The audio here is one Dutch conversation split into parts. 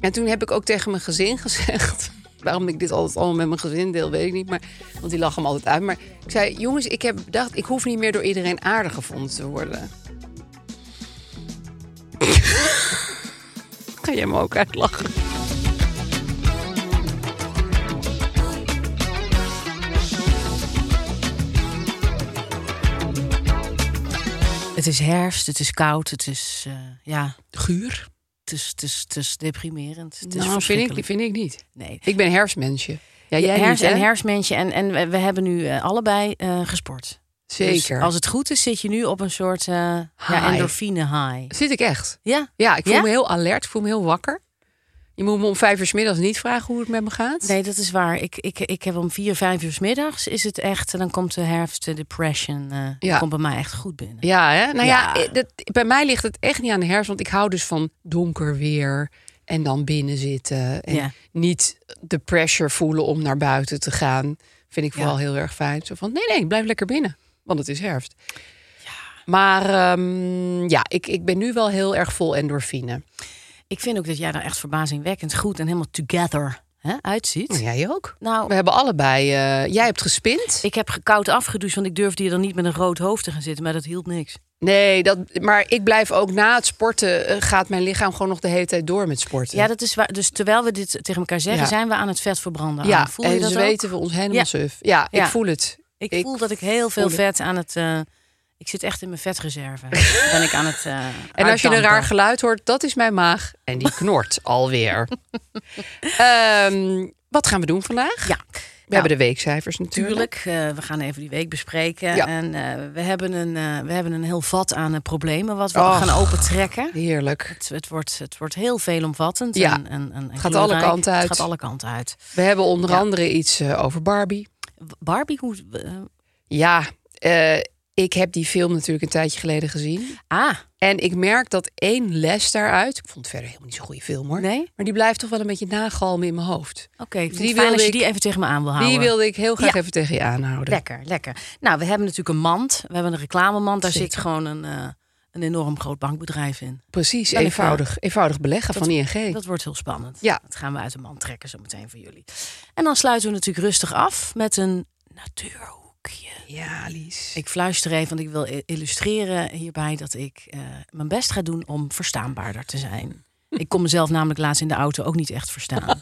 En toen heb ik ook tegen mijn gezin gezegd. Waarom ik dit altijd allemaal met mijn gezin deel, weet ik niet. Maar, want die lachen me altijd uit. Maar ik zei: Jongens, ik heb bedacht, ik hoef niet meer door iedereen aardig gevonden te worden. Ga jij me ook uitlachen? Het is herfst, het is koud, het is, eh, ja, Guur? het is, het is, het is deprimerend. Het is Nou, vind ik, verschrikkelijk. vind ik niet. Nee. Ik ben herfstmensje. Ja, jij herfst niet, hè? en herfstmensje. En, en we, we hebben nu eh, allebei eh, gesport. Dus Zeker. als het goed is, zit je nu op een soort eh High. ja, endorfine high. Zit ik echt? Ja? Ja, ik voel me heel alert, ik voel me heel wakker. Je moet me om vijf uur 's middags niet vragen hoe het met me gaat. Nee, dat is waar. Ik, ik, ik heb om vier, vijf uur 's middags is het echt... en dan komt de herfst, de depression, eh, Ja. komt bij mij echt goed binnen. Ja, hè? Nou ja, Ja. eh, dat, bij mij ligt het echt niet aan de herfst. Want ik hou dus van donker weer en dan binnen zitten. En Ja. niet de pressure voelen om naar buiten te gaan. Vind ik Ja. vooral heel erg fijn. Zo van, nee, nee, blijf lekker binnen. Want het is herfst. Maar ehm, ja, ik, ik ben nu wel heel erg vol endorfine. Ik vind ook dat jij daar echt verbazingwekkend goed... en helemaal together hè, uitziet. Nou, jij ook. Nou, We hebben allebei... eh, jij hebt gespind. Ik heb koud afgedoucht, want ik durfde hier dan niet met een rood hoofd te gaan zitten. Maar dat hielp niks. Nee, dat, maar ik blijf ook na het sporten... eh, gaat mijn lichaam gewoon nog de hele tijd door met sporten. Ja, dat is waar. Dus terwijl we dit tegen elkaar zeggen, Ja. zijn we aan het vet verbranden. Ja, Aan. Voel je en dat dus ook? weten we ons helemaal Ja. suf. Ja, ik Ja. voel het. Ik, voel dat ik heel veel voel vet aan het... eh, ik zit echt in mijn vetreserve. ben ik aan het eh, En als je een uitdampen. raar geluid hoort, dat is mijn maag. En die knort alweer. Ehm, wat gaan we doen vandaag? Ja, We hebben de weekcijfers natuurlijk. natuurlijk. eh, we gaan even die week bespreken. Ja. En eh, we, hebben een, eh, we hebben een heel vat aan eh, problemen wat we Och. gaan opentrekken. Heerlijk. Het, het, wordt, het wordt heel veelomvattend. Ja. En, en, en, en Gaat alle kleurrijk. kanten uit. Het gaat alle kanten uit. We hebben onder Ja. andere iets eh, over Barbie. Barbie, hoe... eh, Ja, eh, ik heb die film natuurlijk een tijdje geleden gezien. ah, En ik merk dat één les daaruit... Ik vond het verder helemaal niet zo'n goede film hoor. Nee? Maar die blijft toch wel een beetje nagalmen in mijn hoofd. Oké, ik vind Die het fijn wilde als je ik- die even tegen me aan wil houden. Die wilde ik heel graag Ja. even tegen je aanhouden. Lekker, lekker. Nou, we hebben natuurlijk een mand. We hebben een reclamemand. Daar Zeker. zit gewoon een, eh, een enorm groot bankbedrijf in. Precies, Wel even- eenvoudig, eenvoudig beleggen van ING. Dat wordt heel spannend. Ja. Dat gaan we uit de mand trekken zo meteen voor jullie. En dan sluiten we natuurlijk rustig af met een natuurhoekje. ja, Lies. Ik fluister even, want ik wil i- illustreren hierbij dat ik eh, mijn best ga doen om verstaanbaarder te zijn. Ik kon mezelf namelijk laatst in de auto ook niet echt verstaan.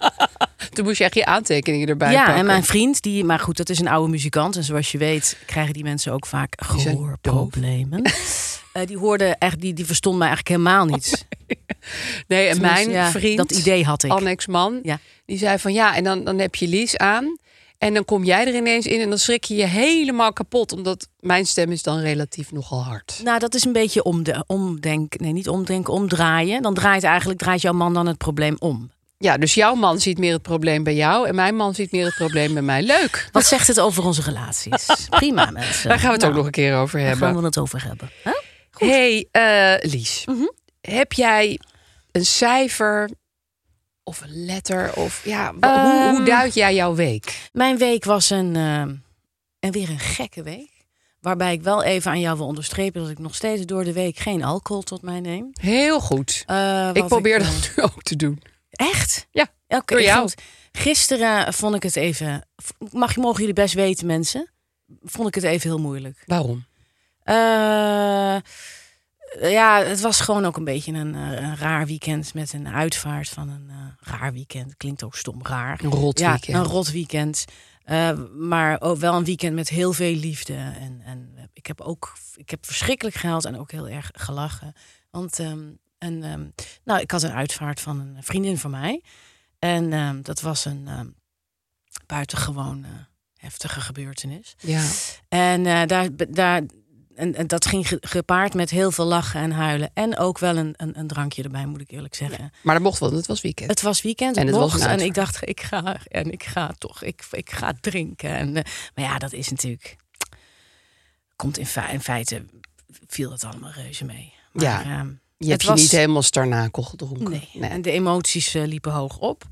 Toen moest je echt je aantekeningen erbij Ja, pakken. en mijn vriend, die, maar goed, dat is een oude muzikant. En zoals je weet, krijgen die mensen ook vaak zijn gehoorproblemen. Eh, die hoorde echt, die, die verstond mij eigenlijk helemaal niet. Nee, en Tenminste, mijn ja, vriend, dat idee had ik. Annex Man, Ja. die zei van ja, en dan, dan heb je Lies aan. En dan kom jij er ineens in en dan schrik je je helemaal kapot. Omdat mijn stem is dan relatief nogal hard. Nou, dat is een beetje omde, omdenken. Nee, niet omdenken, omdraaien. Dan draait eigenlijk, draait jouw man dan het probleem om. Ja, dus jouw man ziet meer het probleem bij jou. En mijn man ziet meer het probleem bij mij. Leuk. Wat zegt het over onze relaties? Prima, mensen. Daar gaan we het Nou, ook nog een keer over Daar gaan hebben. we het over hebben. hè? hey, eh, Lies. Mhm. Heb jij een cijfer of een letter? Of ja, wa- hoe, hoe Ehm, duid jij jouw week? Mijn week was een, eh, en weer een gekke week. Waarbij ik wel even aan jou wil onderstrepen dat ik nog steeds door de week geen alcohol tot mij neem. Heel goed. Eh, Ik wat probeer eh, dat nu ook te doen. Echt? Ja, Oké, door jou. goed. Gisteren vond ik het even. Mag, mogen jullie best weten, mensen? Vond ik het even heel moeilijk. Waarom? Eh, eh, ja, het was gewoon ook een beetje een, eh, een raar weekend met een uitvaart van een eh, raar weekend. Klinkt ook stom raar. Een rot ja, weekend. Een rot weekend. Eh, maar ook wel een weekend met heel veel liefde. En, en ik heb ook ik heb verschrikkelijk gehuild en ook heel erg gelachen. Want ehm, en, ehm, nou, ik had een uitvaart van een vriendin van mij. En ehm, dat was een ehm, buitengewoon eh, heftige gebeurtenis. Ja. En, eh, daar, daar, en, en dat ging ge- gepaard met heel veel lachen en huilen. En ook wel een, een, een drankje erbij, moet ik eerlijk zeggen. Maar dat mocht wel, want het was weekend. Het was weekend, En en, het was een en uitvaart. ik dacht, ik ga, en ik ga toch, ik, ik ga drinken. En, eh, maar ja, dat is natuurlijk, komt in, fe- in feite, viel het allemaal reuze mee. Maar, Ja, ehm, je hebt was- je niet helemaal starnakel gedronken. Nee. En de emoties eh, liepen hoog op.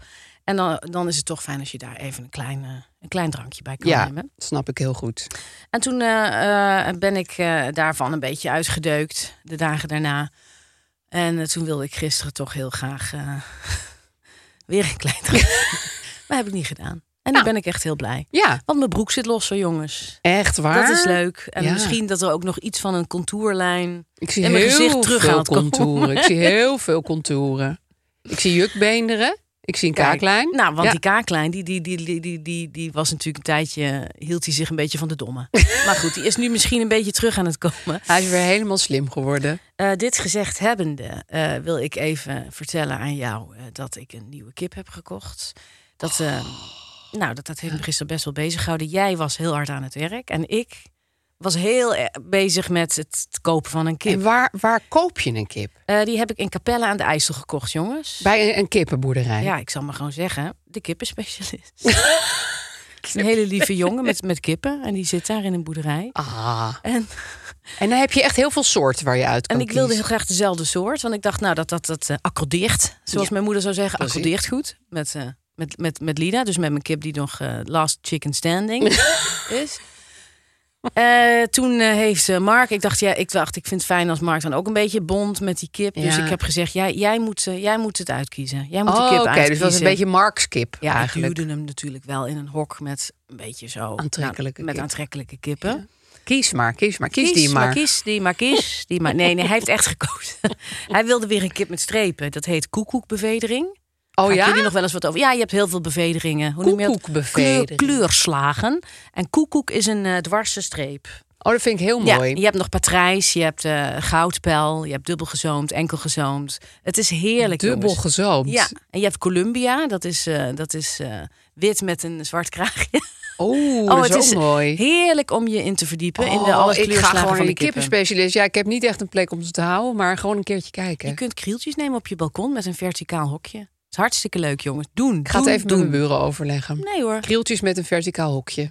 En dan, dan is het toch fijn als je daar even een klein, eh, een klein drankje bij kan Ja, nemen. snap ik heel goed. En toen eh, eh, ben ik eh, daarvan een beetje uitgedeukt de dagen daarna. En eh, toen wilde ik gisteren toch heel graag eh, weer een klein drankje. maar heb ik niet gedaan. En Nou. nu ben ik echt heel blij. Ja, Want mijn broek zit los, zo jongens. echt waar. Dat is leuk. En Ja. misschien dat er ook nog iets van een contourlijn. Ik zie En heel mijn gezicht terug veel aan het komen. contouren. Ik zie heel veel contouren. Ik zie jukbeenderen. Ik zie een Kijk, kaaklijn. Nou, want Ja. die kaaklijn, die, die, die, die, die, die, die was natuurlijk een tijdje... hield hij zich een beetje van de domme. maar goed, die is nu misschien een beetje terug aan het komen. Hij is weer helemaal slim geworden. Eh, dit gezegd hebbende eh, wil ik even vertellen aan jou eh, dat ik een nieuwe kip heb gekocht. Dat, eh, Oh. nou, dat, dat heeft me gisteren best wel bezig gehouden. Jij was heel hard aan het werk en ik was heel eh, bezig met het kopen van een kip. En waar, waar koop je een kip? Eh, die heb ik in Capelle aan de IJssel gekocht, jongens. Bij een, een kippenboerderij. Ja, ik zal maar gewoon zeggen, de kippenspecialist. Het is een hele lieve jongen met, met kippen en die zit daar in een boerderij. Ah. En En dan heb je echt heel veel soorten waar je uit kan En ik wilde heel kiezen. graag dezelfde soort. Want ik dacht, nou, dat dat, dat eh, accordeert. Zoals mijn moeder zou zeggen, Precies. accordeert goed. Met, eh, met, met, met Lida. Dus met mijn kip die nog eh, last chicken standing is. Eh, toen eh, heeft eh, Mark, ik dacht, ja, ik dacht, ik vind het fijn als Mark dan ook een beetje bond met die kip. Dus Ja. ik heb gezegd, jij, jij, moet, eh, jij moet het uitkiezen. Jij moet de Oh, kip oké. uitkiezen. Dus dat is een beetje Mark's kip Ja, eigenlijk. ik duwde hem natuurlijk wel in een hok met een beetje zo... nou, Aantrekkelijke met kip. aantrekkelijke kippen. Kies maar, kies maar, kies, die maar. Kies die maar, kies die maar. Nee, nee, hij heeft echt gekozen. hij wilde weer een kip met strepen. Dat heet koekoekbevedering. oh ja? Kun je nog wel eens wat over? Ja, je hebt heel veel bevederingen. Hoe noem je dat? Koekoekbevedering. Kleur- kleurslagen. En koekoek is een eh, dwarse streep. Oh, dat vind ik heel mooi. Ja, je hebt nog patrijs, je hebt eh, goudpel, je hebt dubbelgezoomd, enkelgezoomd. Het is heerlijk, Dubbel jongens. gezoomd. Ja, en je hebt Columbia, dat is, eh, dat is eh, wit met een zwart kraagje. Oh, dat is, het ook mooi. heerlijk om je in te verdiepen in de Oh, alle ik ga kleurslagen gewoon van naar de die kippen. kippenspecialist. Ja, ik heb niet echt een plek om ze te houden, maar gewoon een keertje kijken. Je kunt krieltjes nemen op je balkon met een verticaal hokje. Het is hartstikke leuk, jongens. Doen. Ik ga het doen, even doen. met mijn buren overleggen. Nee hoor. Krieltjes met een verticaal hokje.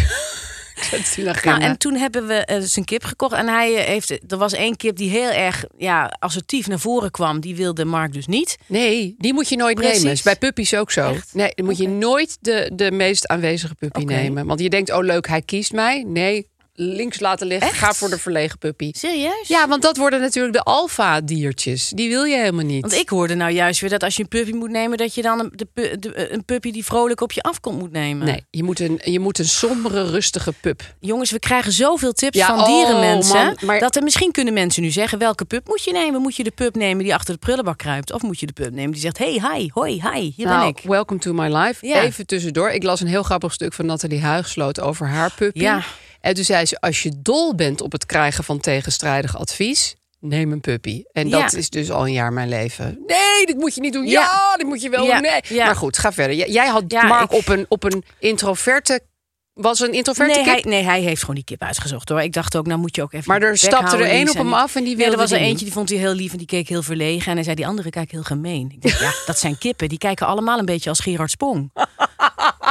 dat is een agenda. Nou, en toen hebben we eh, dus een kip gekocht. En hij eh, heeft. Er was één kip die heel erg ja, assertief naar voren kwam. Die wilde Mark dus niet. Nee, die moet je nooit Precies. nemen. Is bij puppies ook zo. Echt? Nee, dan moet je nooit de, de meest aanwezige puppy Oké. nemen. Want je denkt, oh leuk, hij kiest mij. Nee, links laten liggen. Echt? Ga voor de verlegen puppy. Serieus? Ja, want dat worden natuurlijk de alfa-diertjes. Die wil je helemaal niet. Want ik hoorde nou juist weer dat als je een puppy moet nemen, dat je dan een, de, pu- de- eh, een puppy die vrolijk op je afkomt moet nemen. Nee, je moet, een, je moet een sombere, rustige pup. Jongens, we krijgen zoveel tips Ja, van oh, dierenmensen. man, maar- Dat er misschien kunnen mensen nu zeggen: welke pup moet je nemen? Moet je de pup nemen die achter de prullenbak kruipt? Of moet je de pup nemen die zegt: hey, hi, hoi, hi, hier ben nou, ik? welcome to my life. Ja. Even tussendoor. Ik las een heel grappig stuk van Nathalie Huigsloot over haar puppy. Ja. En toen zei ze, als je dol bent op het krijgen van tegenstrijdig advies... neem een puppy. En Ja. dat is dus al een jaar mijn leven. Nee, dit moet je niet doen. Ja, Ja. dit moet je wel Ja, doen. Nee. ja. Maar goed, ga verder. J- Jij had Ja, Mark ik- op, een, op een introverte... Was een introverte nee, kip? hij, nee, hij heeft gewoon die kip uitgezocht hoor. Ik dacht ook, nou moet je ook even. Maar er je bek stapte houden, er één Lies, op hem en af en die Nee, wilde er was er die eentje die vond hij heel lief en die keek heel verlegen. En hij zei, die andere kijkt heel gemeen. Ik dacht, ja, dat zijn kippen. Die kijken allemaal een beetje als Gerard Spong.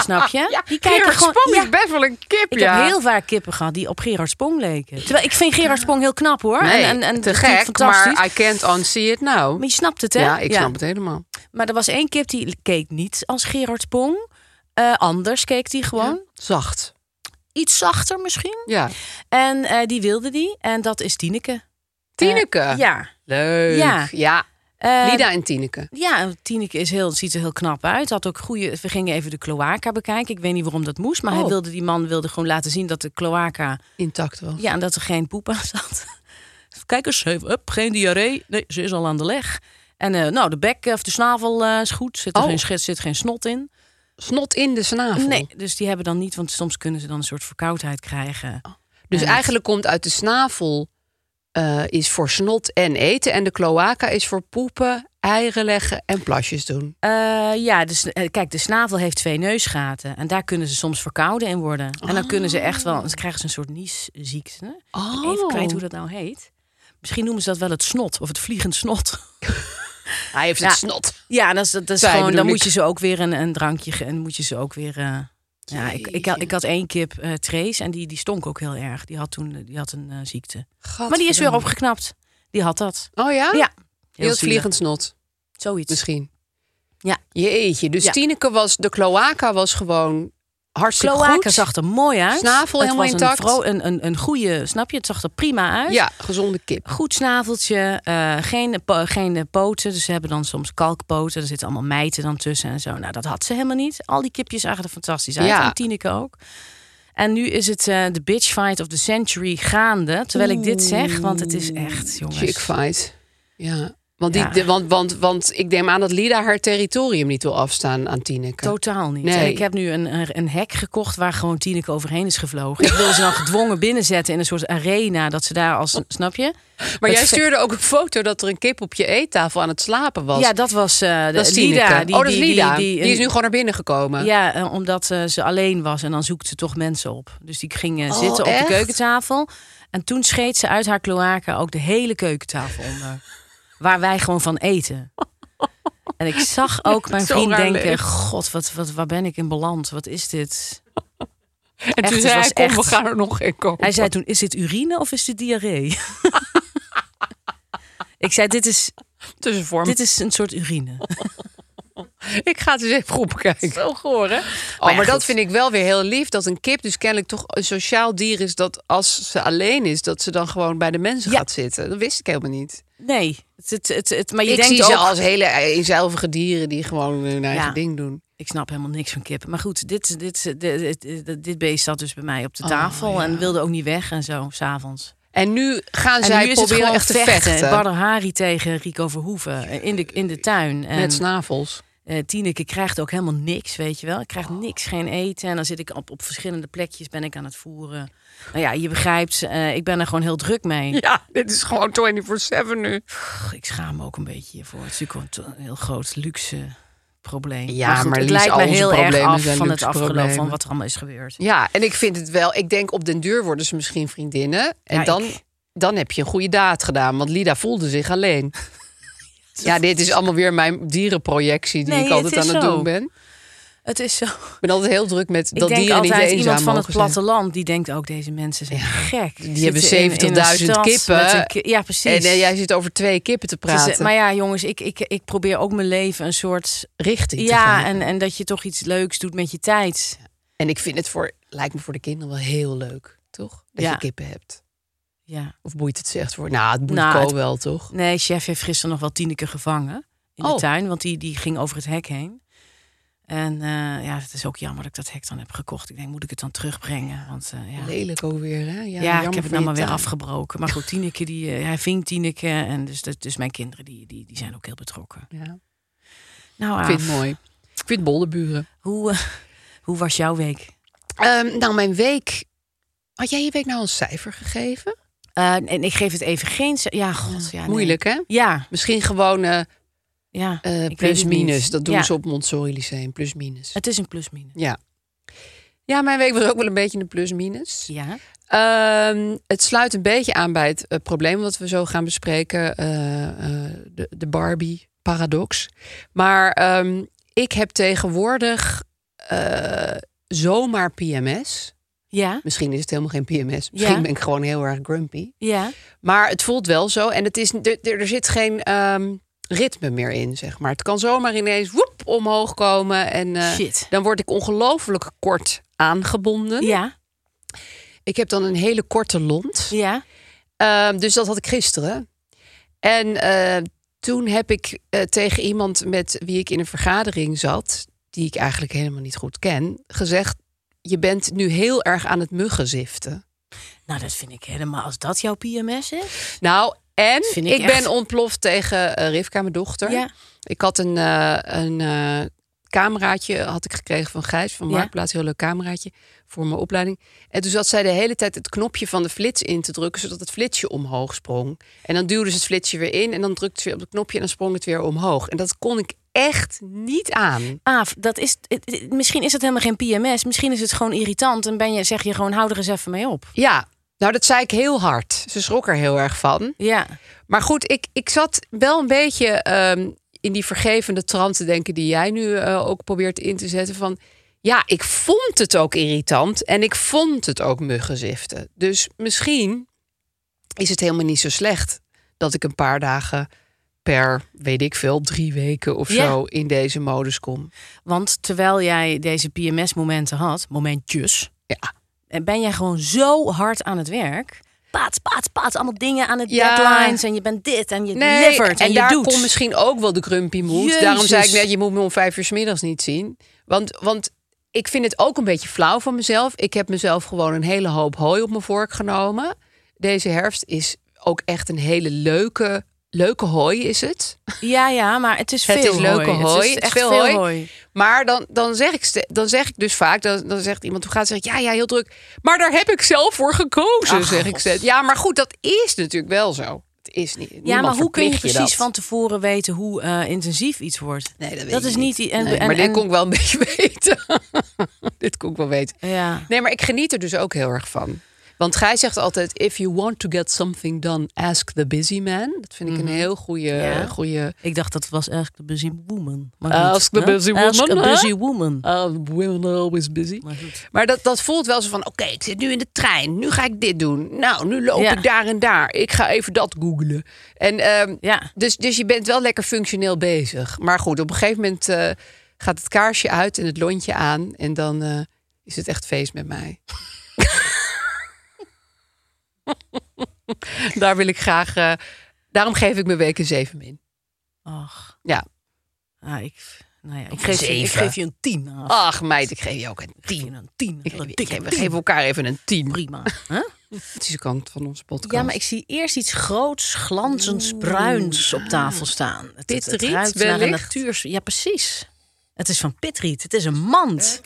Snap je? Ja, die Gerard Spong ja. is best wel een kip, Ik ja. heb heel vaak kippen gehad die op Gerard Spong leken. Terwijl ik vind Gerard Spong heel knap hoor. Nee, en, en, en te dat vind ik gek, fantastisch. maar I can't unsee it now. Maar je snapt het hè? Ja, ik snap het helemaal. Maar er was één kip die keek niet als Gerard Spong. Eh, anders keek die gewoon. Zacht. Iets zachter misschien. Ja. En eh, die wilde die. En dat is Tineke. Tineke. Eh, ja. Leuk. Ja. Ja. Eh, Lida en Tineke. Ja, Tineke is heel, ziet er heel knap uit. Had ook goede, we gingen even de cloaca bekijken. Ik weet niet waarom dat moest. Maar Oh. hij wilde, die man wilde gewoon laten zien dat de cloaca... Intact wel. Ja, en dat er geen poep aan zat. Kijk eens, heeft up, geen diarree. Nee, ze is al aan de leg. En eh, nou, de bek eh, of de snavel eh, is goed. Zit er Oh. geen, sch- zit geen snot in. Snot in de snavel. Nee, dus die hebben dan niet, want soms kunnen ze dan een soort verkoudheid krijgen. Dus En- eigenlijk komt uit de snavel eh, is voor snot en eten. En de cloaca is voor poepen, eieren leggen en plasjes doen. Eh, ja, dus eh, kijk, de snavel heeft twee neusgaten. En daar kunnen ze soms verkouden in worden. En dan kunnen ze echt wel, dan krijgen ze een soort niesziekte. Oh. Even kwijt hoe dat nou heet. Misschien noemen ze dat wel het snot of het vliegend snot. Hij heeft Ja. het snot. Ja, dat is, dat is Zij gewoon, bedoel dan ik. moet je ze ook weer een, een drankje ge- en moet je ze ook weer. eh, ja, ik, ik, had, Jeetje. ik had één kip eh Trace en die, die stonk ook heel erg. Die had toen eh, die had een eh, ziekte. Maar die is weer opgeknapt. Die had dat. Oh ja? Ja, Heel het zielig. vliegend snot, Zoiets. misschien. Ja. Jeetje, dus Ja. Tineke was, de cloaca was gewoon hartstikke Kloaken goed. zag er mooi uit. Snavel het helemaal was intact. Een, vro- een, een, een goede, snap je? Het zag er prima uit. Ja, gezonde kip. Goed snaveltje, eh, geen, po- geen eh, poten. Dus ze hebben dan soms kalkpoten. Er zitten allemaal mijten dan tussen en zo. Nou, dat had ze helemaal niet. Al die kipjes zagen er fantastisch uit. Ja. En Tineke ook. En nu is het eh, de bitch fight of the century gaande. Terwijl ik dit zeg, want het is echt, jongens. Chick fight. Ja. Want, die, Ja. de- want, want, want ik neem aan dat Lida haar territorium niet wil afstaan aan Tineke. Totaal niet. Nee. En ik heb nu een, een, een hek gekocht waar gewoon Tineke overheen is gevlogen. Ik wil ze dan gedwongen binnenzetten in een soort arena. Dat ze daar als, snap je? Maar Het jij ve- stuurde ook een foto dat er een kip op je eettafel aan het slapen was. Ja, dat was eh de, dat is Lida. Tineke. oh, dat is Lida. Die, is nu een- gewoon naar binnen gekomen. Ja, eh, omdat eh, ze alleen was en dan zoekt ze toch mensen op. Dus die ging eh, Oh, zitten op echt? de keukentafel. En toen scheet ze uit haar kloaken ook de hele keukentafel onder. waar wij gewoon van eten. En ik zag ook mijn Zo vriend raar denken... leuk. God, wat, wat, waar ben ik in beland? Wat is dit? en echt, toen het zei hij, was kom, we echt- gaan er nog in komen. Hij zei toen, is dit urine of is dit diarree? ik zei, dit is, tussenvorm. dit is een soort urine. Ik ga het eens even goed bekijken. Zo goor, hè? Oh, maar, ja, dat goed. vind ik wel weer heel lief. Dat een kip dus kennelijk toch een sociaal dier is... dat als ze alleen is, dat ze dan gewoon bij de mensen Ja. gaat zitten. Dat wist ik helemaal niet. Nee, het, het, het, het- maar je ik denkt zie ook... ze als hele eenzelvige dieren... die gewoon hun eigen Ja. ding doen. ik snap helemaal niks van kippen. Maar goed, dit, dit, dit, dit, dit- dit beest zat dus bij mij op de Oh, tafel en wilde ook niet weg en zo, s'avonds. En nu gaan En zij nu is het proberen gewoon echt te vechten. Badr Hari tegen Rico Verhoeven eh, in de, in de tuin. En, Met snavels. eh, Tineke krijgt ook helemaal niks, weet je wel. Ik Oh. krijg niks, geen eten. En dan zit ik op, op verschillende plekjes, ben ik aan het voeren. Nou ja, je begrijpt, eh, ik ben er gewoon heel druk mee. Ja, dit is gewoon 24-7 nu. Pff, ik schaam me ook een beetje hiervoor. Het is natuurlijk gewoon een heel groot luxe probleem. Ja, goed, maar het Lies, lijkt me al onze heel erg problemen af zijn van het luxe afgelopen problemen. van wat er allemaal is gebeurd. Ja, en ik vind het wel. Ik denk op den duur worden ze misschien vriendinnen. En Ja, dan, ik- dan heb je een goede daad gedaan. Want Lida voelde zich alleen. ja, dit is allemaal weer mijn dierenprojectie die Nee, ik altijd het aan is het zo. doen ben. Het is zo. Ik ben altijd heel druk met Ik dat denk dieren niet altijd eenzaam iemand van het mogen zijn. platteland die denkt ook deze mensen zijn gek. die hebben Zitten in- in een 70.000 stad kippen. met een ki- ja, precies. En eh, jij zit over twee kippen te Het is, eh, praten. maar ja, jongens, ik, ik, ik probeer ook mijn leven een soort. Richting te Ja, geven. en, en dat je toch iets leuks doet met je tijd. En ik vind het voor, lijkt me voor de kinderen wel heel leuk, toch? Dat Ja. je kippen hebt. Ja. Of boeit het ze echt voor? Nou, het boeit Nou, Ko het- wel, toch? Nee, chef heeft gisteren nog wel Tineke gevangen in Oh. de tuin, want die, die ging over het hek heen. En eh, ja, het is ook jammer dat ik dat hek dan heb gekocht. Ik denk, moet ik het dan terugbrengen? Want eh, ja. Lelijk ook weer, hè? Ja, Ja, jammer ik heb het voor nou je maar weer tuin. afgebroken. Maar goed, Tineke, die, eh, hij ving Tineke. En dus, dat- dus mijn kinderen, die, die, die zijn ook heel betrokken. Ja. Nou, Ik vind Aaf, het mooi. Ik vind boldeburen. Hoe, eh, hoe was jouw week? Ehm, nou, mijn week. Had jij je week nou een cijfer gegeven? Eh, en ik geef het even geen... ce- Ja, god. Ja, nee. Moeilijk, hè? Ja, Misschien gewoon eh, ja. eh, ik weet plus het niet. minus. Dat doen Ja, ze op Montessori Lyceum. Plus minus. Het is een plus-minus. Ja. Ja, mijn week was ook wel een beetje een plus minus. Ja. Ehm, het sluit een beetje aan bij het eh, probleem wat we zo gaan bespreken. eh, eh, de, de Barbie paradox. Maar ehm, ik heb tegenwoordig eh, zomaar PMS. Ja. Misschien is het helemaal geen PMS. Misschien Ja. ben ik gewoon heel erg grumpy. Ja. Maar het voelt wel zo. En het is, er, er er zit geen ehm, ritme meer in, zeg maar. Het kan zomaar ineens woep, omhoog komen. En eh, Shit. dan word ik ongelooflijk kort aangebonden. Ja. Ik heb dan een hele korte lont. Ja. Ehm, dus dat had ik gisteren. En eh, toen heb ik eh, tegen iemand met wie ik in een vergadering zat... die ik eigenlijk helemaal niet goed ken, gezegd... je bent nu heel erg aan het muggenziften. Nou, dat vind ik helemaal. Als dat jouw PMS is. Nou, en Vind ik ik, echt. ben ontploft tegen eh, Rivka, mijn dochter. Ja. Ik had een, eh, een eh, cameraatje had ik gekregen van Gijs van Ja. Marktplaats. Heel leuk cameraatje voor mijn opleiding. En toen zat zij de hele tijd het knopje van de flits in te drukken... zodat het flitsje omhoog sprong. En dan duwde ze het flitsje weer in en dan drukte ze weer op het knopje... en dan sprong het weer omhoog. En dat kon ik echt niet aan. Aaf, Ah, dat is, het- het- misschien is het helemaal geen PMS. Misschien is het gewoon irritant. En ben je, zeg je gewoon, hou er eens even mee op. Ja, nou dat zei ik heel hard. Ze schrok er heel erg van. Ja. Maar goed, ik, ik zat wel een beetje ehm, in die vergevende trant te denken die jij nu eh, ook probeert in te zetten. Van ja, ik vond het ook irritant en ik vond het ook muggenziften. Dus misschien is het helemaal niet zo slecht dat ik een paar dagen per, weet ik veel, drie weken of Ja. zo in deze modus kom. Want terwijl jij deze PMS-momenten had, momentjes, Ja. en ben jij gewoon zo hard aan het werk. Paats, paats, paats, allemaal dingen aan het Ja. deadlines. En je bent dit en je levert en, en je daar doet. komt misschien ook wel de grumpy mood. Jezus. Daarom zei ik net, je moet me om vijf uur 's middags niet zien. Want, want ik vind het ook een beetje flauw van mezelf. Ik heb mezelf gewoon een hele hoop hooi op mijn vork genomen. Deze herfst is ook echt een hele leuke, leuke hooi is het. Ja, ja, maar het is Het veel is leuke hooi. hooi. Het Het is is echt veel veel hooi. hooi. Maar dan, dan, zeg, ik, ste- dan zeg ik dus vaak, dan, dan zegt iemand hoe gaat het? Zeg ik, ja, ja, heel druk. Maar daar heb ik zelf voor gekozen, zeg ik. steeds. Ja, maar goed, dat is natuurlijk wel zo. Het is niet. Ja, niemand maar hoe kun je verplicht precies dat. van tevoren weten hoe eh, intensief iets wordt? Nee, dat, weet dat je is niet. i- En, Nee, en- maar dit en- kon ik wel een beetje weten. dit kon ik wel weten. Ja. Nee, maar ik geniet er dus ook heel erg van. Want Gij zegt altijd: If you want to get something done, ask the busy man. Dat vind ik een heel goede. Mhm. Ja. goede Ik dacht dat was Ask the Busy Woman. Maar goed, ask the hè? busy Ask woman. a hè? Busy Woman. Uh, women are always busy. Maar Maar, goed. dat, dat voelt wel zo van: oké, ik zit nu in de trein. Nu ga ik dit doen. Nou, nu loop Ja. ik daar en daar. Ik ga even dat googlen. En ehm, Ja. Dus, dus je bent wel lekker functioneel bezig. Maar goed, op een gegeven moment eh, gaat het kaarsje uit en het lontje aan. En dan eh, is het echt feest met mij. Daar wil ik graag. eh, daarom geef ik mijn week een 7 min. Ach, Ja. ah, ik, nou ja, ik, geef je, ik zeven. geef je een tien. Aaf. Ach, meid, ik geef je ook een Ik 10. vind een tien. Ik, een ik- dikke we tien. geven elkaar even een 10. prima. hè? Dat is de kant van onze podcast. Ja, maar ik zie eerst iets groots, glanzends, bruins op tafel staan. Het- Het, het Pitriet ruikt naar een wellicht? natuur. Ja, precies. Het is van Pitriet. Het is een mand.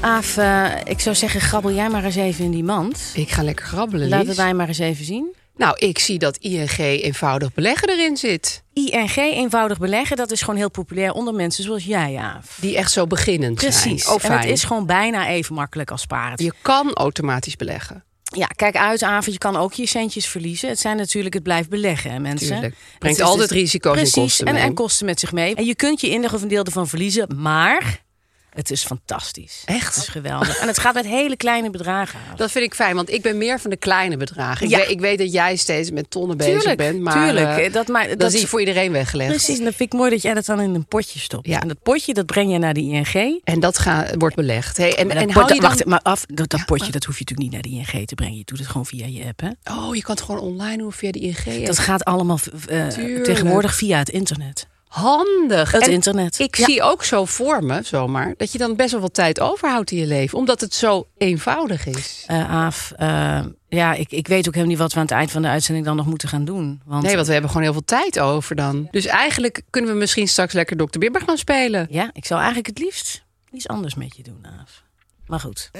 Aaf, eh, ik zou zeggen, grabbel jij maar eens even in die mand. Ik ga lekker grabbelen. Laten Lies. wij maar eens even zien. Nou, ik zie dat ING eenvoudig beleggen erin zit. ING, eenvoudig beleggen, dat is gewoon heel populair onder mensen zoals jij, Aaf. Die echt zo beginnend zijn. Precies. Ook en het fijn. is gewoon bijna even makkelijk als sparen. Je kan automatisch beleggen. Ja, kijk uit, avond. Je kan ook je centjes verliezen. Het zijn natuurlijk, het blijft beleggen, hè, mensen. Tuurlijk. Het Brengt is altijd risico's en precies, kosten en, mee. en kosten met zich mee. En je kunt je inleg of een deel ervan verliezen, maar het is fantastisch. Echt? Het is geweldig. en het gaat met hele kleine bedragen. aan. Dat vind ik fijn, want ik ben meer van de kleine bedragen. Ja. Ik, weet, ik weet dat jij steeds met tonnen bezig Tuurlijk, bent, maar tuurlijk. eh, Eh, dat maakt- dat, dat- is niet voor iedereen weggelegd. Precies, en dat vind ik mooi dat jij dat dan in een potje stopt. Ja. En dat potje, dat breng je naar de ING. En dat ga, wordt belegd. Hey, en, Maar en, dat pot- hou je dan... wacht, maar af, dat, dat potje, dat hoef je natuurlijk niet naar de ING te brengen. Je doet het gewoon via je app, hè? Oh, je kan het gewoon online doen via de ING. app. Dat gaat allemaal eh, Tuurlijk. tegenwoordig via het internet. handig. Het En internet. Ik Ja. zie ook zo voor me, zomaar, dat je dan best wel wat tijd overhoudt in je leven. Omdat het zo eenvoudig is. Eh, Aaf, eh, ja, ik, ik weet ook helemaal niet wat we aan het eind van de uitzending dan nog moeten gaan doen. Want, Nee, want we hebben gewoon heel veel tijd over dan. Dus eigenlijk kunnen we misschien straks lekker Dr. Bibber gaan spelen. Ja, ik zou eigenlijk het liefst iets anders met je doen, Aaf. Maar goed.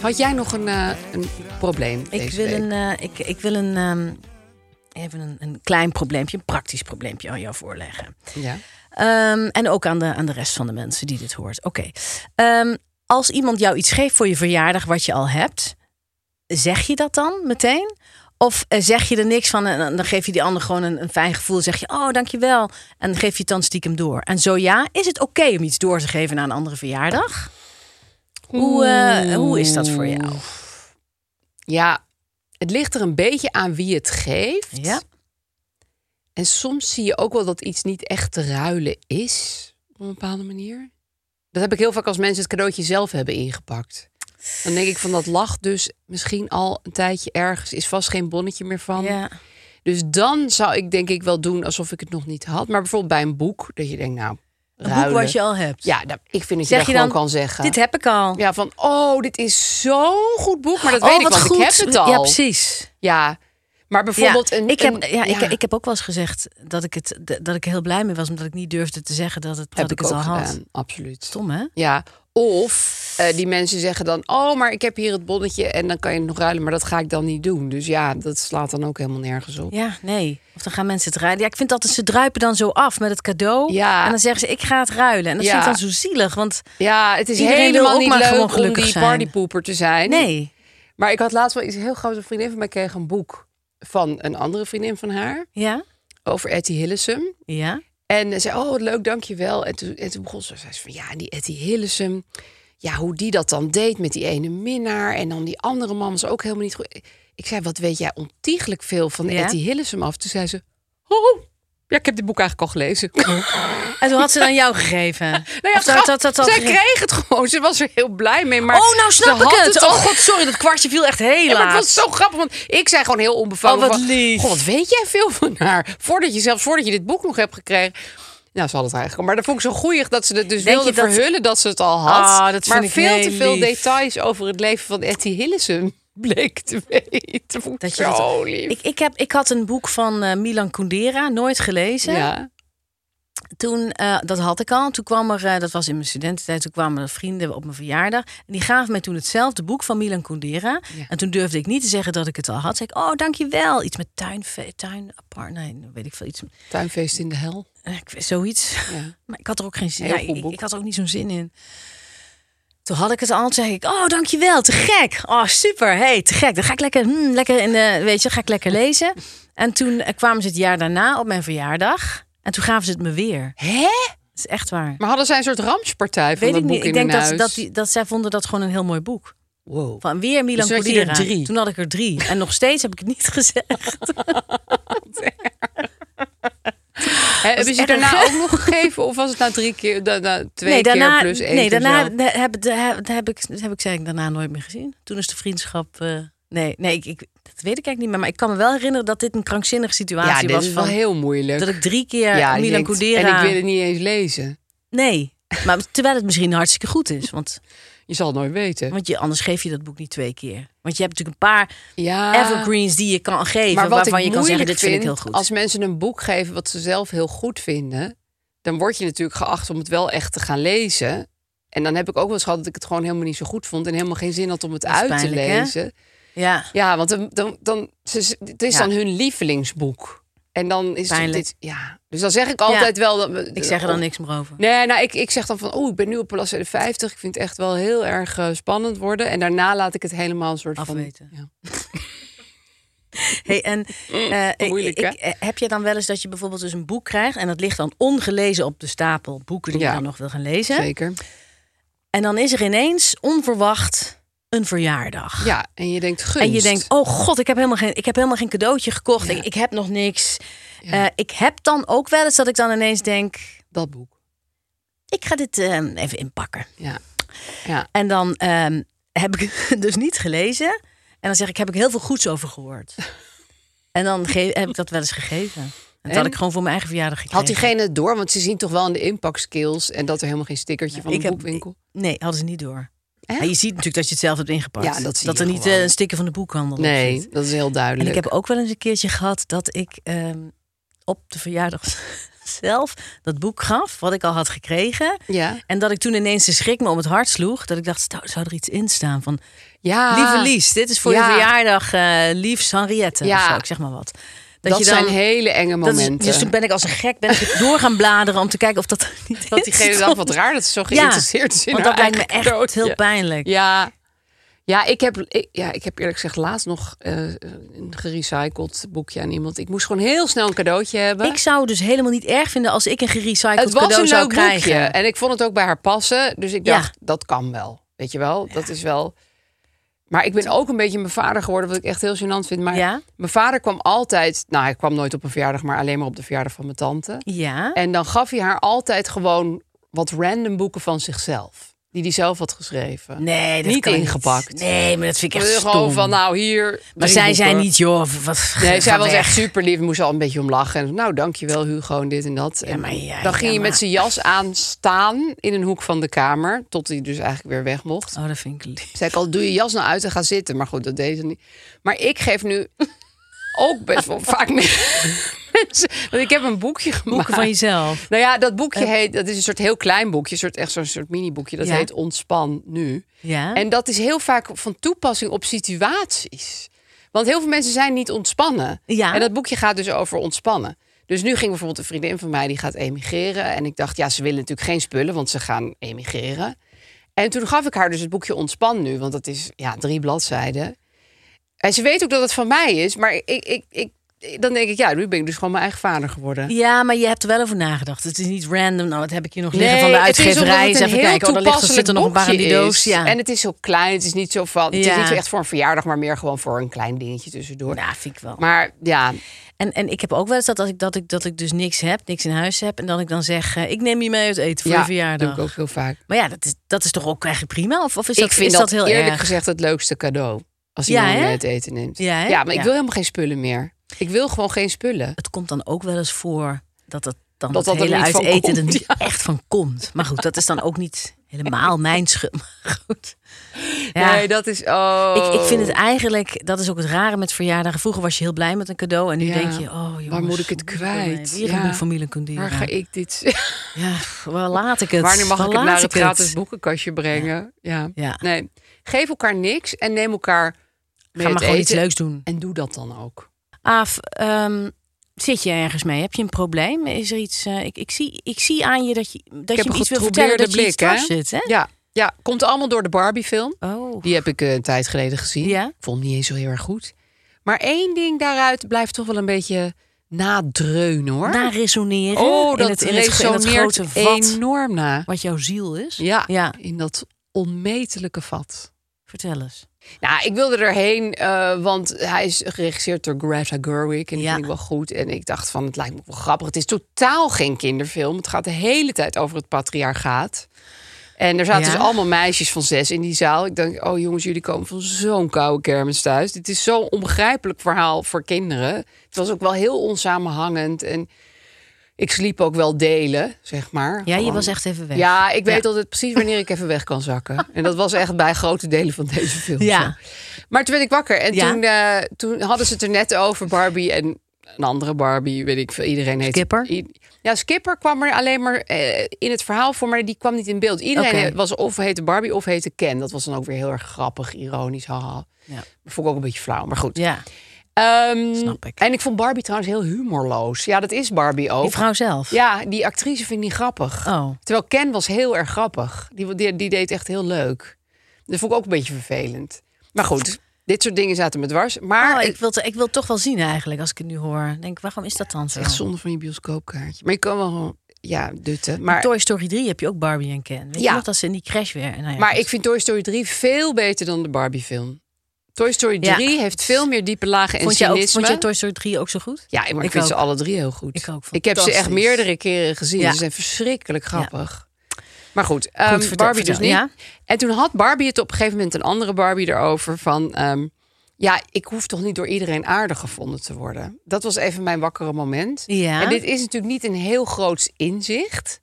Had jij nog een, eh, een probleem Ik deze wil, week? een, eh, ik, ik wil een, ehm, even een, een klein probleempje, een praktisch probleempje aan jou voorleggen. Ja. Ehm, en ook aan de, aan de rest van de mensen die dit hoort. Oké. Ehm, als iemand jou iets geeft voor je verjaardag wat je al hebt, zeg je dat dan meteen? Of eh, zeg je er niks van en dan- dan geef je die ander gewoon een, een fijn gevoel. Zeg je, oh, dankjewel. En geef je het dan stiekem door. En zo ja, is het oké om iets door te geven aan een andere verjaardag? Hoe, eh, hoe is dat voor jou? Ja, het ligt er een beetje aan wie het geeft. Ja? En soms zie je ook wel dat iets niet echt te ruilen is. Op een bepaalde manier. Dat heb ik heel vaak als mensen het cadeautje zelf hebben ingepakt. Dan denk ik van dat lag dus misschien al een tijdje ergens. Is vast geen bonnetje meer van. ja. Dus dan zou ik denk ik wel doen alsof ik het nog niet had. Maar bijvoorbeeld bij een boek. Dat je denkt nou Een boek Ruilen. wat je al hebt. Ja, nou, ik vind dat je, Zeg dat je gewoon dan, kan zeggen. dit heb ik al. Ja, van oh, dit is zo'n goed boek. Maar dat weet oh, ik, wat want goed. ik heb het al. Ja, precies. Ja, maar bijvoorbeeld ja, een... ik heb, een- ja, Ik, ik heb ook wel eens gezegd dat ik, het, dat ik er heel blij mee was... omdat ik niet durfde te zeggen dat, het, heb dat ik, ik het ook al had. gedaan, absoluut. Stom, hè? Ja, of eh, die mensen zeggen dan... oh, maar ik heb hier het bonnetje en dan kan je het nog ruilen. Maar dat ga ik dan niet doen. Dus ja, dat slaat dan ook helemaal nergens op. Ja, nee. Of dan gaan mensen het ruilen. Ja, ik vind altijd, ze druipen dan zo af met het cadeau. Ja. En dan zeggen ze, ik ga het ruilen. En dat Ja. vind ik dan zo zielig, want Ja, het is Iedereen wil helemaal ook niet maar gewoon leuk om gelukkig die zijn. partypoeper te zijn. nee. Maar ik had laatst wel iets heel groots. Een vriendin van mij kreeg een boek van een andere vriendin van haar... Ja? over Etty Hillesum. Ja? En zei, oh, wat leuk, dankjewel. En toen, en toen begon ze, zei ze van, ja, en die Etty Hillesum... ja, hoe die dat dan deed met die ene minnaar... en dan die andere man was ook helemaal niet goed. Ik zei, wat weet jij ontiegelijk veel van Ja? Etty Hillesum af? Toen zei ze, oh, ja, ik heb dit boek eigenlijk al gelezen. nou En toen had ze dan jou gegeven. nou ja, het gaf- zij kreeg het gewoon. Ze was er heel blij mee. Maar Oh, nou snap ze ik had het. al. Oh god, sorry, dat kwartje viel echt heel Ja, maar het laat. was zo grappig, want ik zei gewoon heel onbevangen. Oh, wat van, lief. "Goh, wat weet jij veel van haar? Voordat je zelfs voordat je dit boek nog hebt gekregen. Nou, ze had het eigenlijk. al. Maar dat vond ik zo goeig dat ze het dus Denk je wilde dat- verhullen dat ze het al had. Ah, dat maar vind ik veel heel te veel lief. details over het leven van Etty Hillesum bleek te weten. Vond ik Dat je dat- zo lief. Ik, ik, heb, ik had een boek van eh, Milan Kundera, nooit gelezen. ja. Toen, eh, dat had ik al. Toen kwam er, eh, dat was in mijn studententijd, toen kwamen er vrienden op mijn verjaardag. En die gaven mij toen hetzelfde boek van Milan Kundera. En toen durfde ik niet te zeggen dat ik het al had. Zei ik, oh, dankjewel. Iets met tuin, tuin apart, nee, weet ik veel. Iets, Tuinfeest in de hel. eh, ik weet- zoiets. Ja. Maar ik had er ook geen zin Heel ja, goed ik, boek. ik had er ook niet zo'n zin in. Toen had ik het al, toen zei ik, oh dankjewel, te gek. Oh super, hey, te gek. Dan ga ik lekker, hmm, lekker in de, weet je, ga ik lekker lezen. En toen eh, kwamen ze het jaar daarna op mijn verjaardag. En toen gaven ze het me weer. Hè? Dat is echt waar. Maar hadden zij een soort ramspartij van Weet dat ik boek niet. in Ik denk hun dat, huis? dat, die, dat zij vonden dat gewoon een heel mooi boek. Wow. Van weer Dus Milan toen had je er Kundera. drie. Toen had ik er drie. En nog steeds heb ik het niet gezegd. Hè, Hebben ze erg. daarna ook nog gegeven? Of was het nou drie keer, da- da- twee nee, daarna, keer plus één? dus nee, keer daarna zo? heb, heb, heb, heb ik, heb ik, zei ik daarna nooit meer gezien. Toen is de vriendschap. eh, nee, nee ik, ik, dat weet ik eigenlijk niet meer. Maar ik kan me wel herinneren dat dit een krankzinnige Ja, situatie dit was. is wel Van, heel moeilijk. dat ik drie keer Ja, je Milan denkt, Kundera. En ik wil het niet eens lezen. Nee, maar terwijl het misschien hartstikke goed is. Want, Je zal het nooit weten. want je, anders geef je dat boek niet twee keer. Want je hebt natuurlijk een paar Ja, evergreens die je kan geven. Ah. maar wat waarvan ik je kan zeggen: moeilijk dit vind, ik heel goed. Als mensen een boek geven wat ze zelf heel goed vinden, dan word je natuurlijk geacht om het wel echt te gaan lezen. En dan heb ik ook wel eens gehad dat ik het gewoon helemaal niet zo goed vond en helemaal geen zin had om het is uit te pijnlijk, hè? lezen. ja. Ja, want dan, dan, dan, ze- het is Ja. dan hun lievelingsboek. En dan is het Pijnlijk. dit. Ja, dus dan zeg ik altijd Ja. wel dat we- Ik zeg er dan niks meer over. Nee, nou, ik, ik zeg dan van, oeh, ik ben nu op Palazzo de 50. Ik vind het echt wel heel erg eh, spannend worden. En daarna laat ik het helemaal een soort Afweten. van... Ja. Hey, en eh, ik- Mm, moeilijk, ik- hè? eh, heb je dan wel eens dat je bijvoorbeeld dus een boek krijgt en dat ligt dan ongelezen op de stapel boeken die Ja. je dan nog wil gaan lezen? Zeker. En dan is er ineens onverwacht een verjaardag. Ja, en je denkt gunst. En je denkt, oh god, ik heb helemaal geen, ik heb helemaal geen cadeautje gekocht. Ja. Ik, ik heb nog niks. Eh, ik heb dan ook wel eens dat ik dan ineens denk, Dat boek. ik ga dit eh, even inpakken. Ja. ja. En dan ehm, heb ik het dus niet gelezen. En dan zeg ik, heb ik heel veel goeds over gehoord. En dan ge- heb ik dat wel eens gegeven. En dat had En? ik gewoon voor mijn eigen verjaardag gekregen. Had diegene het door? Want ze zien toch wel aan de inpakskills... en dat er helemaal geen stickertje van Ik een heb- boekwinkel... Nee, hadden ze niet door. Echt? Ja, je ziet natuurlijk dat je het zelf hebt ingepakt. Ja, dat zie dat je er niet gewoon. eh, een sticker van de boekhandel op Nee, zit. dat is heel En duidelijk. ik heb ook wel eens een keertje gehad dat ik ehm, op de verjaardag zelf dat boek gaf, wat ik al had gekregen. Ja. En dat ik toen ineens de schrik me om het hart sloeg. Dat ik dacht, zou, zou er iets in staan van... Ja. Lieve Lies, dit is voor Ah. Ja. je verjaardag. eh liefs Henriette Ja. of zo, ik zeg maar wat. Dat, zijn hele enge dat is- momenten. dus toen ben ik als een gek ben ik door gaan bladeren om te kijken of dat er niet Want in diegene dacht, stond. wat raar dat ze zo geïnteresseerd is in Want haar dat lijkt me eigen echt cadeautje. heel pijnlijk. Ja, ja, ik heb, ik, ja, ik heb eerlijk gezegd laatst nog eh, een gerecycled boekje aan iemand. Ik moest gewoon heel snel een cadeautje hebben. Ik zou het dus helemaal niet erg vinden als ik een gerecycled het was cadeau een zou leuk krijgen. boekje en ik vond het ook bij haar passen. Dus ik Ja. dacht, dat kan wel. Weet je wel, dat is wel... Maar ik ben ook een beetje mijn vader geworden, wat ik echt heel gênant vind. Maar Ja? mijn vader kwam altijd... Nou, hij kwam nooit op een verjaardag, maar alleen maar op de verjaardag van mijn tante. Ja. En dan gaf hij haar altijd gewoon wat random boeken van zichzelf. Die die hij zelf had geschreven. Nee, dat Niet kan ik ingepakt. Nee, maar dat vind ik echt Eh, stom. Gewoon van, nou hier. maar drie zij boeken. zei niet, joh, wat Nee, zij ga was weg. echt super lief. Moest al een beetje om lachen. En, nou, dankjewel Hugo en dit en dat. En maar jij- dan ging ja, je met maar- zijn jas aan staan in een hoek van de kamer. Tot hij dus eigenlijk weer weg mocht. Oh, dat vind ik lief. Zei ik al, doe je jas nou uit en ga zitten. Maar goed, dat deed ze niet. Maar ik geef nu ook best wel vaak mensen... Want ik heb een boekje gemaakt. Boeken van jezelf. Eh. Nou ja, dat boekje heet... Dat is een soort heel klein boekje. Een soort, echt zo'n soort mini-boekje. Dat Ja. heet Ontspan Nu. Ja. En dat is heel vaak van toepassing op situaties. Want heel veel mensen zijn niet ontspannen. Ja. En dat boekje gaat dus over ontspannen. Dus nu ging bijvoorbeeld een vriendin van mij die gaat emigreren. En ik dacht, ja, ze willen natuurlijk geen spullen, want ze gaan emigreren. En toen gaf ik haar dus het boekje Ontspan nu, want dat is ja, drie bladzijden. En ze weet ook dat het van mij is, maar ik, ik, ik, dan denk ik, ja, nu ben ik dus gewoon mijn eigen vader geworden. Ja, maar je hebt er wel over nagedacht. Het is niet random. Nou, wat heb ik hier nog liggen Nee, van de het is omdat uitgeverij? het Eens een even heel kijken. Oh, daar ligt, er zit er nog een paar in die toepasselijk doos. boekje Ja. is. En het is zo klein, het is niet zo van... Het is Ja. niet zo echt voor een verjaardag, maar meer gewoon voor een klein dingetje tussendoor. Nou, vind ik wel. Maar ja, En, en ik heb ook wel eens dat als ik, dat, ik, dat ik dus niks heb, niks in huis heb. En dat ik dan zeg, eh, ik neem je mee uit eten voor ja je doe verjaardag. ik ook heel vaak. Maar ja, dat is, dat is toch ook eigenlijk prima? Of, of is, ik dat, vind is dat, heel eerlijk erg? gezegd het leukste cadeau. Als Ja, iemand hè? mee het eten neemt. Ja, hè? maar ik Ja. wil helemaal geen spullen meer. Ik wil gewoon geen spullen. Het komt dan ook wel eens voor dat het dan Dat dat het dat er niet hele uit van eten komt, er niet echt van komt. Maar goed, dat is dan ook niet helemaal mijn schuld. Maar goed. Ja. Nee, dat is... Oh. Ik, ik vind het eigenlijk, dat is ook het rare met verjaardagen. Vroeger was je heel blij met een cadeau en nu Ja. denk je, oh jongens, Waar moet ik het kwijt? Hier Ja. een familie kunnen Waar ga ik dit... Ja, pff, waar laat ik het? Wanneer mag Waar ik het laat naar het gratis boekenkastje brengen? Ja. Ja. Nee, geef elkaar niks en neem elkaar mee Ga maar uit gewoon iets eten. leuks doen. En doe dat dan ook. Aaf, ehm, zit je ergens mee? Heb je een probleem? Is er iets? eh, ik, ik, zie, ik zie aan je dat je, dat Ik je heb me een iets wil vertellen dat getroubleerde je iets blik, hè? dwars zit, hè? Ja, ja, komt allemaal door de Barbie-film. Oh. Die heb ik eh, een tijd geleden gezien. Ja. Vond hem niet eens zo heel erg goed. Maar één ding daaruit blijft toch wel een beetje nadreunen, hoor. Na resoneren. oh, dat in het, in het, in het resoneert grote vat enorm na. wat jouw ziel is. Ja, in dat onmetelijke vat. vertel eens. Nou, ik wilde erheen, eh, want hij is geregisseerd door Greta Gerwig. En die Ja. vind ik wel goed. En ik dacht van, het lijkt me ook wel grappig. Het is totaal geen kinderfilm. Het gaat de hele tijd over het patriarchaat. En er zaten Ja. dus allemaal meisjes van zes in die zaal. Ik denk, oh jongens, jullie komen van zo'n koude kermis thuis. Dit is zo'n onbegrijpelijk verhaal voor kinderen. Het was ook wel heel onsamenhangend. En ik sliep ook wel delen, zeg maar. Ja, je Gewoon. was echt even weg. Ja, ik weet altijd precies wanneer ik even weg kan zakken. En dat was echt bij grote delen van deze film. Ja. zo. Maar toen werd ik wakker en Ja. toen, eh, toen hadden ze het er net over Barbie en een andere Barbie, weet ik veel. Iedereen heet Skipper? I- ja, Skipper kwam er alleen maar eh, in het verhaal voor, maar die kwam niet in beeld. Iedereen Oké. was of heette Barbie of heette Ken. Dat was dan ook weer heel erg grappig, ironisch. Haha. Ja. Vond ik ook een beetje flauw, maar goed. Ja, Ehm, Snap ik. En ik vond Barbie trouwens heel humorloos. Ja, dat is Barbie ook. die vrouw zelf. Ja, die actrice vind ik niet grappig. Oh. Terwijl Ken was heel erg grappig. Die, die, die deed echt heel leuk. Dat vond ik ook een beetje vervelend. Maar goed, dit soort dingen zaten me dwars. Maar Oh, het ik, wil, het- ik wil het toch wel zien eigenlijk, als ik het nu hoor. Denk, waarom is dat dan is zo? echt zonde van je bioscoopkaartje. Maar je kan wel gewoon, ja, dutten. Maar... Maar, Toy Story 3 heb je ook Barbie en Ken. Weet Ja. je nog, dat ze in die crash weer... Nou ja, maar goed. ik vind Toy Story 3 veel beter dan de Barbie film. Toy Story Ja. 3 heeft veel meer diepe lagen en vond jij, cynisme. ook, vond jij Toy Story 3 ook zo goed? Ja, maar ik, Ik vind ze ook. alle drie heel goed. Ik ook, heb ze echt fantastisch. meerdere keren gezien. Ja. Ze zijn verschrikkelijk grappig. Maar goed, ehm, vertel- Barbie vertel, dus niet. ja. En toen had Barbie het op een gegeven moment een andere Barbie erover van... ehm, ja, ik hoef toch niet door iedereen aardig gevonden te worden. Dat was even mijn wakkere moment. Ja. En dit is natuurlijk niet een heel groots inzicht.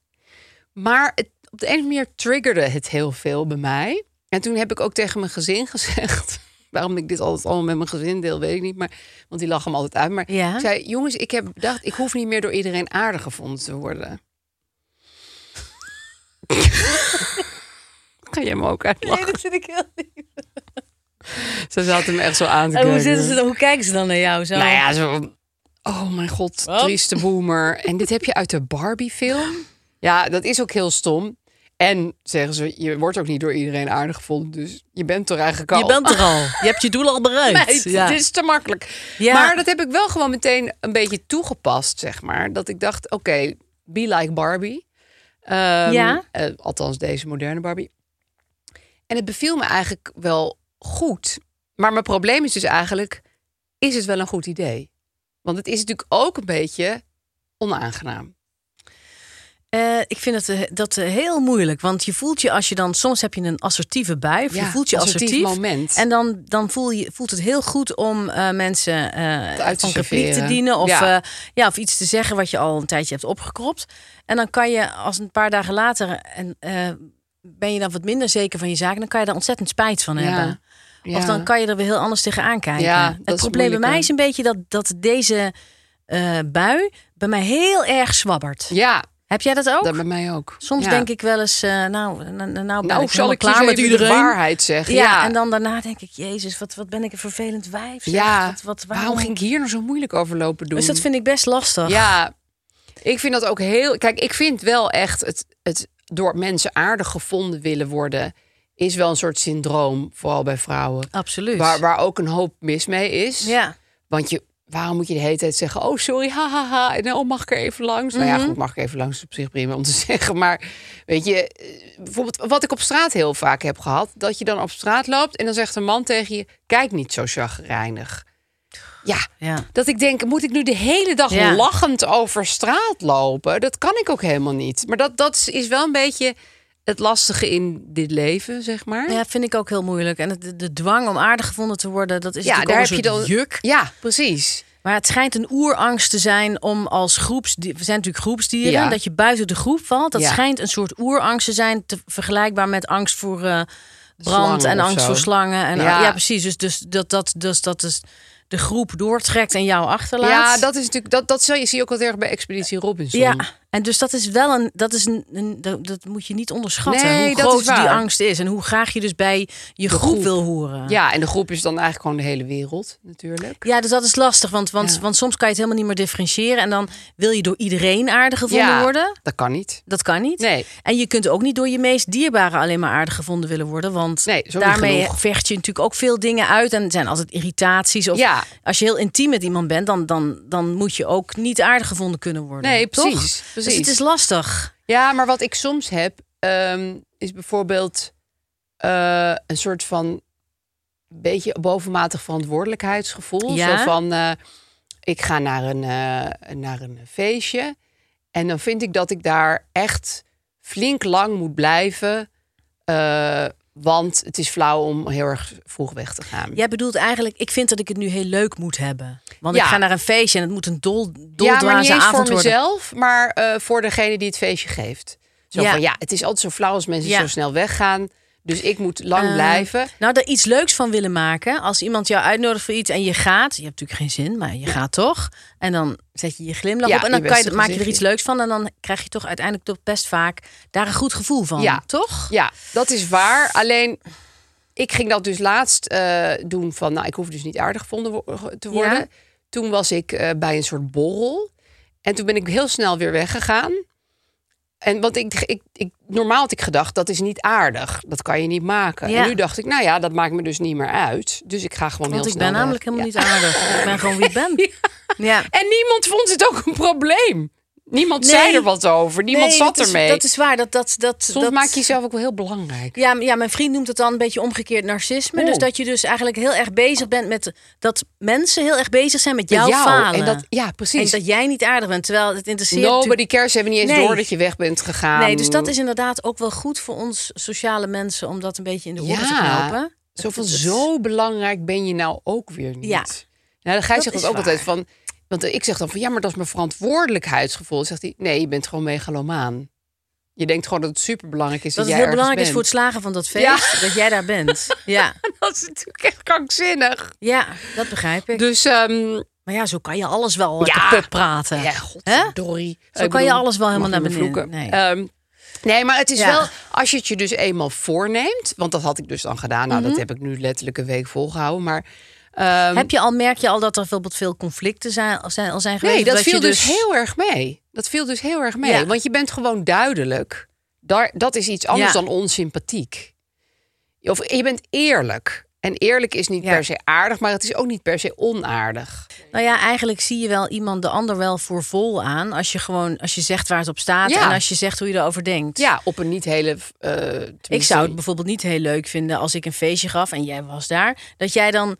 Maar het, op de een of andere manier triggerde het heel veel bij mij. En toen heb ik ook tegen mijn gezin gezegd... waarom ik dit altijd allemaal met mijn gezin deel, weet ik niet. Maar, want die lachen hem altijd uit. Maar Ja. ik zei, jongens, ik heb bedacht... ik hoef niet meer door iedereen aardig gevonden te worden. Ga jij me ook uitlachen? dat vind ik heel lief. Ze zaten me echt zo aan te En kijken. hoe, zitten ze dan, hoe kijken ze dan naar jou zo? Nou ja, zo... Oh mijn god, Wat? trieste boomer. En dit heb je uit de Barbie-film? Ja, dat is ook heel stom. En zeggen ze, je wordt ook niet door iedereen aardig gevonden. Dus je bent toch eigenlijk al... Je bent er al. Je hebt je doel al bereikt. Meid, ja. Dit is te makkelijk. Ja. Maar dat heb ik wel gewoon meteen een beetje toegepast, zeg maar. Dat ik dacht, oké, be like Barbie. Ehm, Ja. eh, althans, deze moderne Barbie. En het beviel me eigenlijk wel goed. Maar mijn probleem is dus eigenlijk, is het wel een goed idee? Want het is natuurlijk ook een beetje onaangenaam. Eh, ik vind het, eh, dat eh, heel moeilijk. Want je voelt je als je dan... Soms heb je een assertieve bui. Of je Ja, voelt je assertief assertief. moment. En dan, dan voel je, voelt het heel goed om eh, mensen eh uit te van repliek te serveren. dienen. Of, Ja. eh, ja, of iets te zeggen wat je al een tijdje hebt opgekropt. En dan kan je als een paar dagen later... En, eh, ben je dan wat minder zeker van je zaken... dan kan je daar ontzettend spijt van Ja. hebben. Of Ja. dan kan je er weer heel anders tegenaan kijken. Ja, dat het is probleem bij mij moeilijker. is een beetje dat, dat deze eh, bui bij mij heel erg zwabbert. Ja, Heb jij dat ook? dat bij mij ook. Soms Ja. denk ik wel eens, eh, nou, nou, nou, ben nou ik zal helemaal ik klaar met iedereen. de waarheid zeggen. Ja, Ja, en dan daarna denk ik, jezus, wat, wat ben ik een vervelend wijf. zeg. Ja, wat, wat, waarom... ging ik hier nou zo moeilijk over lopen doen? Dus dat vind ik best lastig. Ja, ik vind dat ook heel. Kijk, ik vind wel echt het, het door mensen aardig gevonden willen worden. is wel een soort syndroom, vooral bij vrouwen. Absoluut. Waar, waar ook een hoop mis mee is. Ja. Want je, waarom moet je de hele tijd zeggen: Oh, sorry, hahaha. En oh, mag ik er even langs? Nou Mhm. ja, goed, mag ik even langs is op zich prima om te zeggen. Maar weet je, eh, bijvoorbeeld wat ik op straat heel vaak heb gehad: dat je dan op straat loopt en dan zegt een man tegen je: Kijk niet zo chagrijnig. Ja, Ja. dat ik denk: Moet ik nu de hele dag Ja. lachend over straat lopen? Dat kan ik ook helemaal niet. Maar dat, dat is wel een beetje het lastige in dit leven, zeg maar. ja, vind ik ook heel moeilijk. En het- de, de dwang om aardig gevonden te worden, dat is natuurlijk ook dus een soort juk. Ja, precies. Maar het schijnt een oerangst te zijn om als groeps... We zijn natuurlijk groepsdieren, Ja. dat je buiten de groep valt. Dat Ja. schijnt een soort oerangst te zijn... Te, vergelijkbaar met angst voor eh, brand Slangen en of zo. angst voor slangen. En, ja. Ja. precies. Dus, dus dat, dat, dus dat is de groep doortrekt en jou achterlaat. Ja, dat is natuurlijk. Dat, dat zie je zie je ook altijd erg bij Expeditie Robinson. Ja, en dus dat is wel een... Dat, is een, een- dat, dat moet je niet onderschatten, Nee, hoe dat groot is die waar. angst is. En hoe graag je dus bij je groep, groep. wil horen. Ja, en de groep is dan eigenlijk gewoon de hele wereld, natuurlijk. Ja, dus dat is lastig, want, want, Ja. want soms kan je het helemaal niet meer differentiëren. En dan wil je door iedereen aardig gevonden worden. dat kan niet. Dat kan niet. Nee. En je kunt ook niet door je meest dierbare alleen maar aardig gevonden willen worden. Want Nee, is ook niet daarmee genoeg. vecht je natuurlijk ook veel dingen uit. En er zijn altijd irritaties. Of Ja. als je heel intiem met iemand bent, dan, dan, dan moet je ook niet aardig gevonden kunnen worden. Nee, toch? precies, Dus precies. het is lastig. Ja, maar wat ik soms heb, ehm, is bijvoorbeeld eh, een soort van beetje bovenmatig verantwoordelijkheidsgevoel. Ja. Zo van, eh, ik ga naar een, eh, naar een feestje en dan vind ik dat ik daar echt flink lang moet blijven. eh, want het is flauw om heel erg vroeg weg te gaan. Jij bedoelt eigenlijk, ik vind dat ik het nu heel leuk moet hebben. Want ik Ja. ga naar een feestje en het moet een dol, Ja, doldwaze maar niet eens voor avond worden. mezelf, maar eh, voor degene die het feestje geeft. Zo Ja. van, ja, het is altijd zo flauw als mensen Ja. zo snel weggaan. Dus ik moet lang Eh, blijven. Nou, daar iets leuks van willen maken. Als iemand jou uitnodigt voor iets en je gaat, je hebt natuurlijk geen zin, maar je gaat toch. En dan zet je je glimlach Ja, op en je dan kan je, beste maak je er iets gezichtje. leuks van. En dan krijg je toch uiteindelijk toch best vaak daar een goed gevoel van, Ja. toch? Ja, dat is waar. Alleen, ik ging dat dus laatst eh, doen van... nou, ik hoef dus niet aardig gevonden wo- te worden. Ja. Toen was ik eh, bij een soort borrel. En toen ben ik heel snel weer weggegaan. En want ik, ik, ik, normaal had ik gedacht, dat is niet aardig. Dat kan je niet maken. Ja. En nu dacht ik, nou ja, dat maakt me dus niet meer uit. Dus ik ga gewoon Want heel ik snel ben weg. namelijk helemaal Ja. niet aardig. Ik ben gewoon wie ik ben. Ja. En niemand vond het ook een probleem. Niemand Nee. zei er wat over. Niemand Nee, zat dat is- ermee. Dat is waar. Dat, dat, dat, Soms dat, maak je jezelf ook wel heel belangrijk. Ja, m- ja, mijn vriend noemt het dan een beetje omgekeerd narcisme. Oeh. Dus dat je dus eigenlijk heel erg bezig bent met... dat mensen heel erg bezig zijn met Met jouw jou. falen. En dat, ja, en precies. dat jij niet aardig bent. Terwijl het interesseert natuurlijk- Nobody cares. Ze hebben niet eens Nee. door dat je weg bent gegaan. Nee, dus dat is inderdaad ook wel goed voor ons sociale mensen om dat een beetje in de orde te Ja. knopen. Zo van, Het- het- zo belangrijk ben je nou ook weer niet. Ja. Nou, dan Gijs Dat zegt is dat ook waar. altijd van... Want ik zeg dan van, ja, maar dat is mijn verantwoordelijkheidsgevoel. Dan Zegt hij, nee, je bent gewoon megalomaan. Je denkt gewoon dat het superbelangrijk is dat, Dat het jij heel belangrijk is ergens voor het slagen van dat feest, dat jij daar bent. Ja. bent. Dat is natuurlijk echt krankzinnig. ja, dat begrijp ik. Dus, ehm, Maar ja, zo kan je alles wel Ja. ja. kapot praten. Ja, godverdorie. Zo kan je alles wel helemaal naar beneden. Nee. Nee. Ehm, nee, maar het is Ja. wel... Als je het je dus eenmaal voorneemt... Want dat had ik dus dan gedaan. Nou, Mhm. dat heb ik nu letterlijk een week volgehouden. Maar ehm, Heb je al, merk je al dat er bijvoorbeeld veel conflicten zijn, al zijn, al zijn geweest? nee, Of dat je viel dus... heel erg mee. Dat viel dus heel erg mee. Ja. Want je bent gewoon duidelijk. Daar, dat is iets anders Ja. dan onsympathiek. Of je bent eerlijk. En eerlijk is niet Ja. per se aardig, maar het is ook niet per se onaardig. Nou ja, eigenlijk zie je wel iemand de ander wel voor vol aan. Als je gewoon, als je zegt waar het op staat Ja. en als je zegt hoe je erover denkt. Ja, op een niet hele... eh, tenminste- Ik zou het bijvoorbeeld niet heel leuk vinden als ik een feestje gaf en jij was daar. Dat jij dan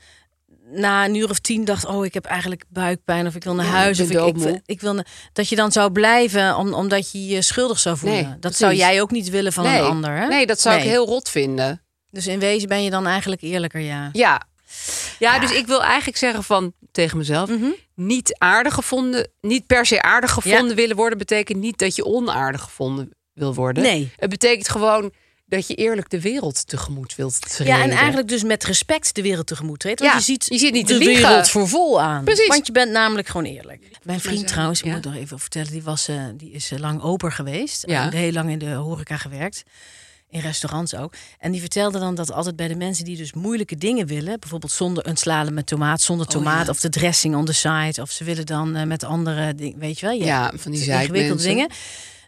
na een uur of tien dacht, oh, ik heb eigenlijk buikpijn of ik wil naar huis. ik Of ik, ben ik, wil- doodmoe. ik wil na- dat je dan zou blijven om, omdat je je schuldig zou voelen. Nee, dat precies. zou jij ook niet willen van nee. een ander. Hè? Nee, dat zou ik Nee. heel rot vinden. Dus in wezen ben je dan eigenlijk eerlijker, ja. Ja. Ja, dus ik wil eigenlijk zeggen van tegen mezelf: niet aardig gevonden, niet per se aardig gevonden Mhm. Ja. willen worden, betekent niet dat je onaardig gevonden wil worden. Nee. Het betekent gewoon dat je eerlijk de wereld tegemoet wilt treden. Ja, en eigenlijk dus met respect de wereld tegemoet treedt. Want Ja, je, ziet je zit niet te de liegen. wereld voor vol aan. Precies. Want je bent namelijk gewoon eerlijk. Mijn vriend zo, trouwens, ik ja. moet nog even vertellen, die, was, eh, die is eh, lang oper geweest. Ja. Ja. Heel lang in de horeca gewerkt. In restaurants ook. En die vertelde dan dat altijd bij de mensen die dus moeilijke dingen willen. Bijvoorbeeld zonder een slalom met tomaat, zonder tomaat. Of de dressing on the side. Of ze willen dan eh, met andere dingen. Weet je wel? Je Ja, hebt van die ingewikkelde zeikmensen. dingen.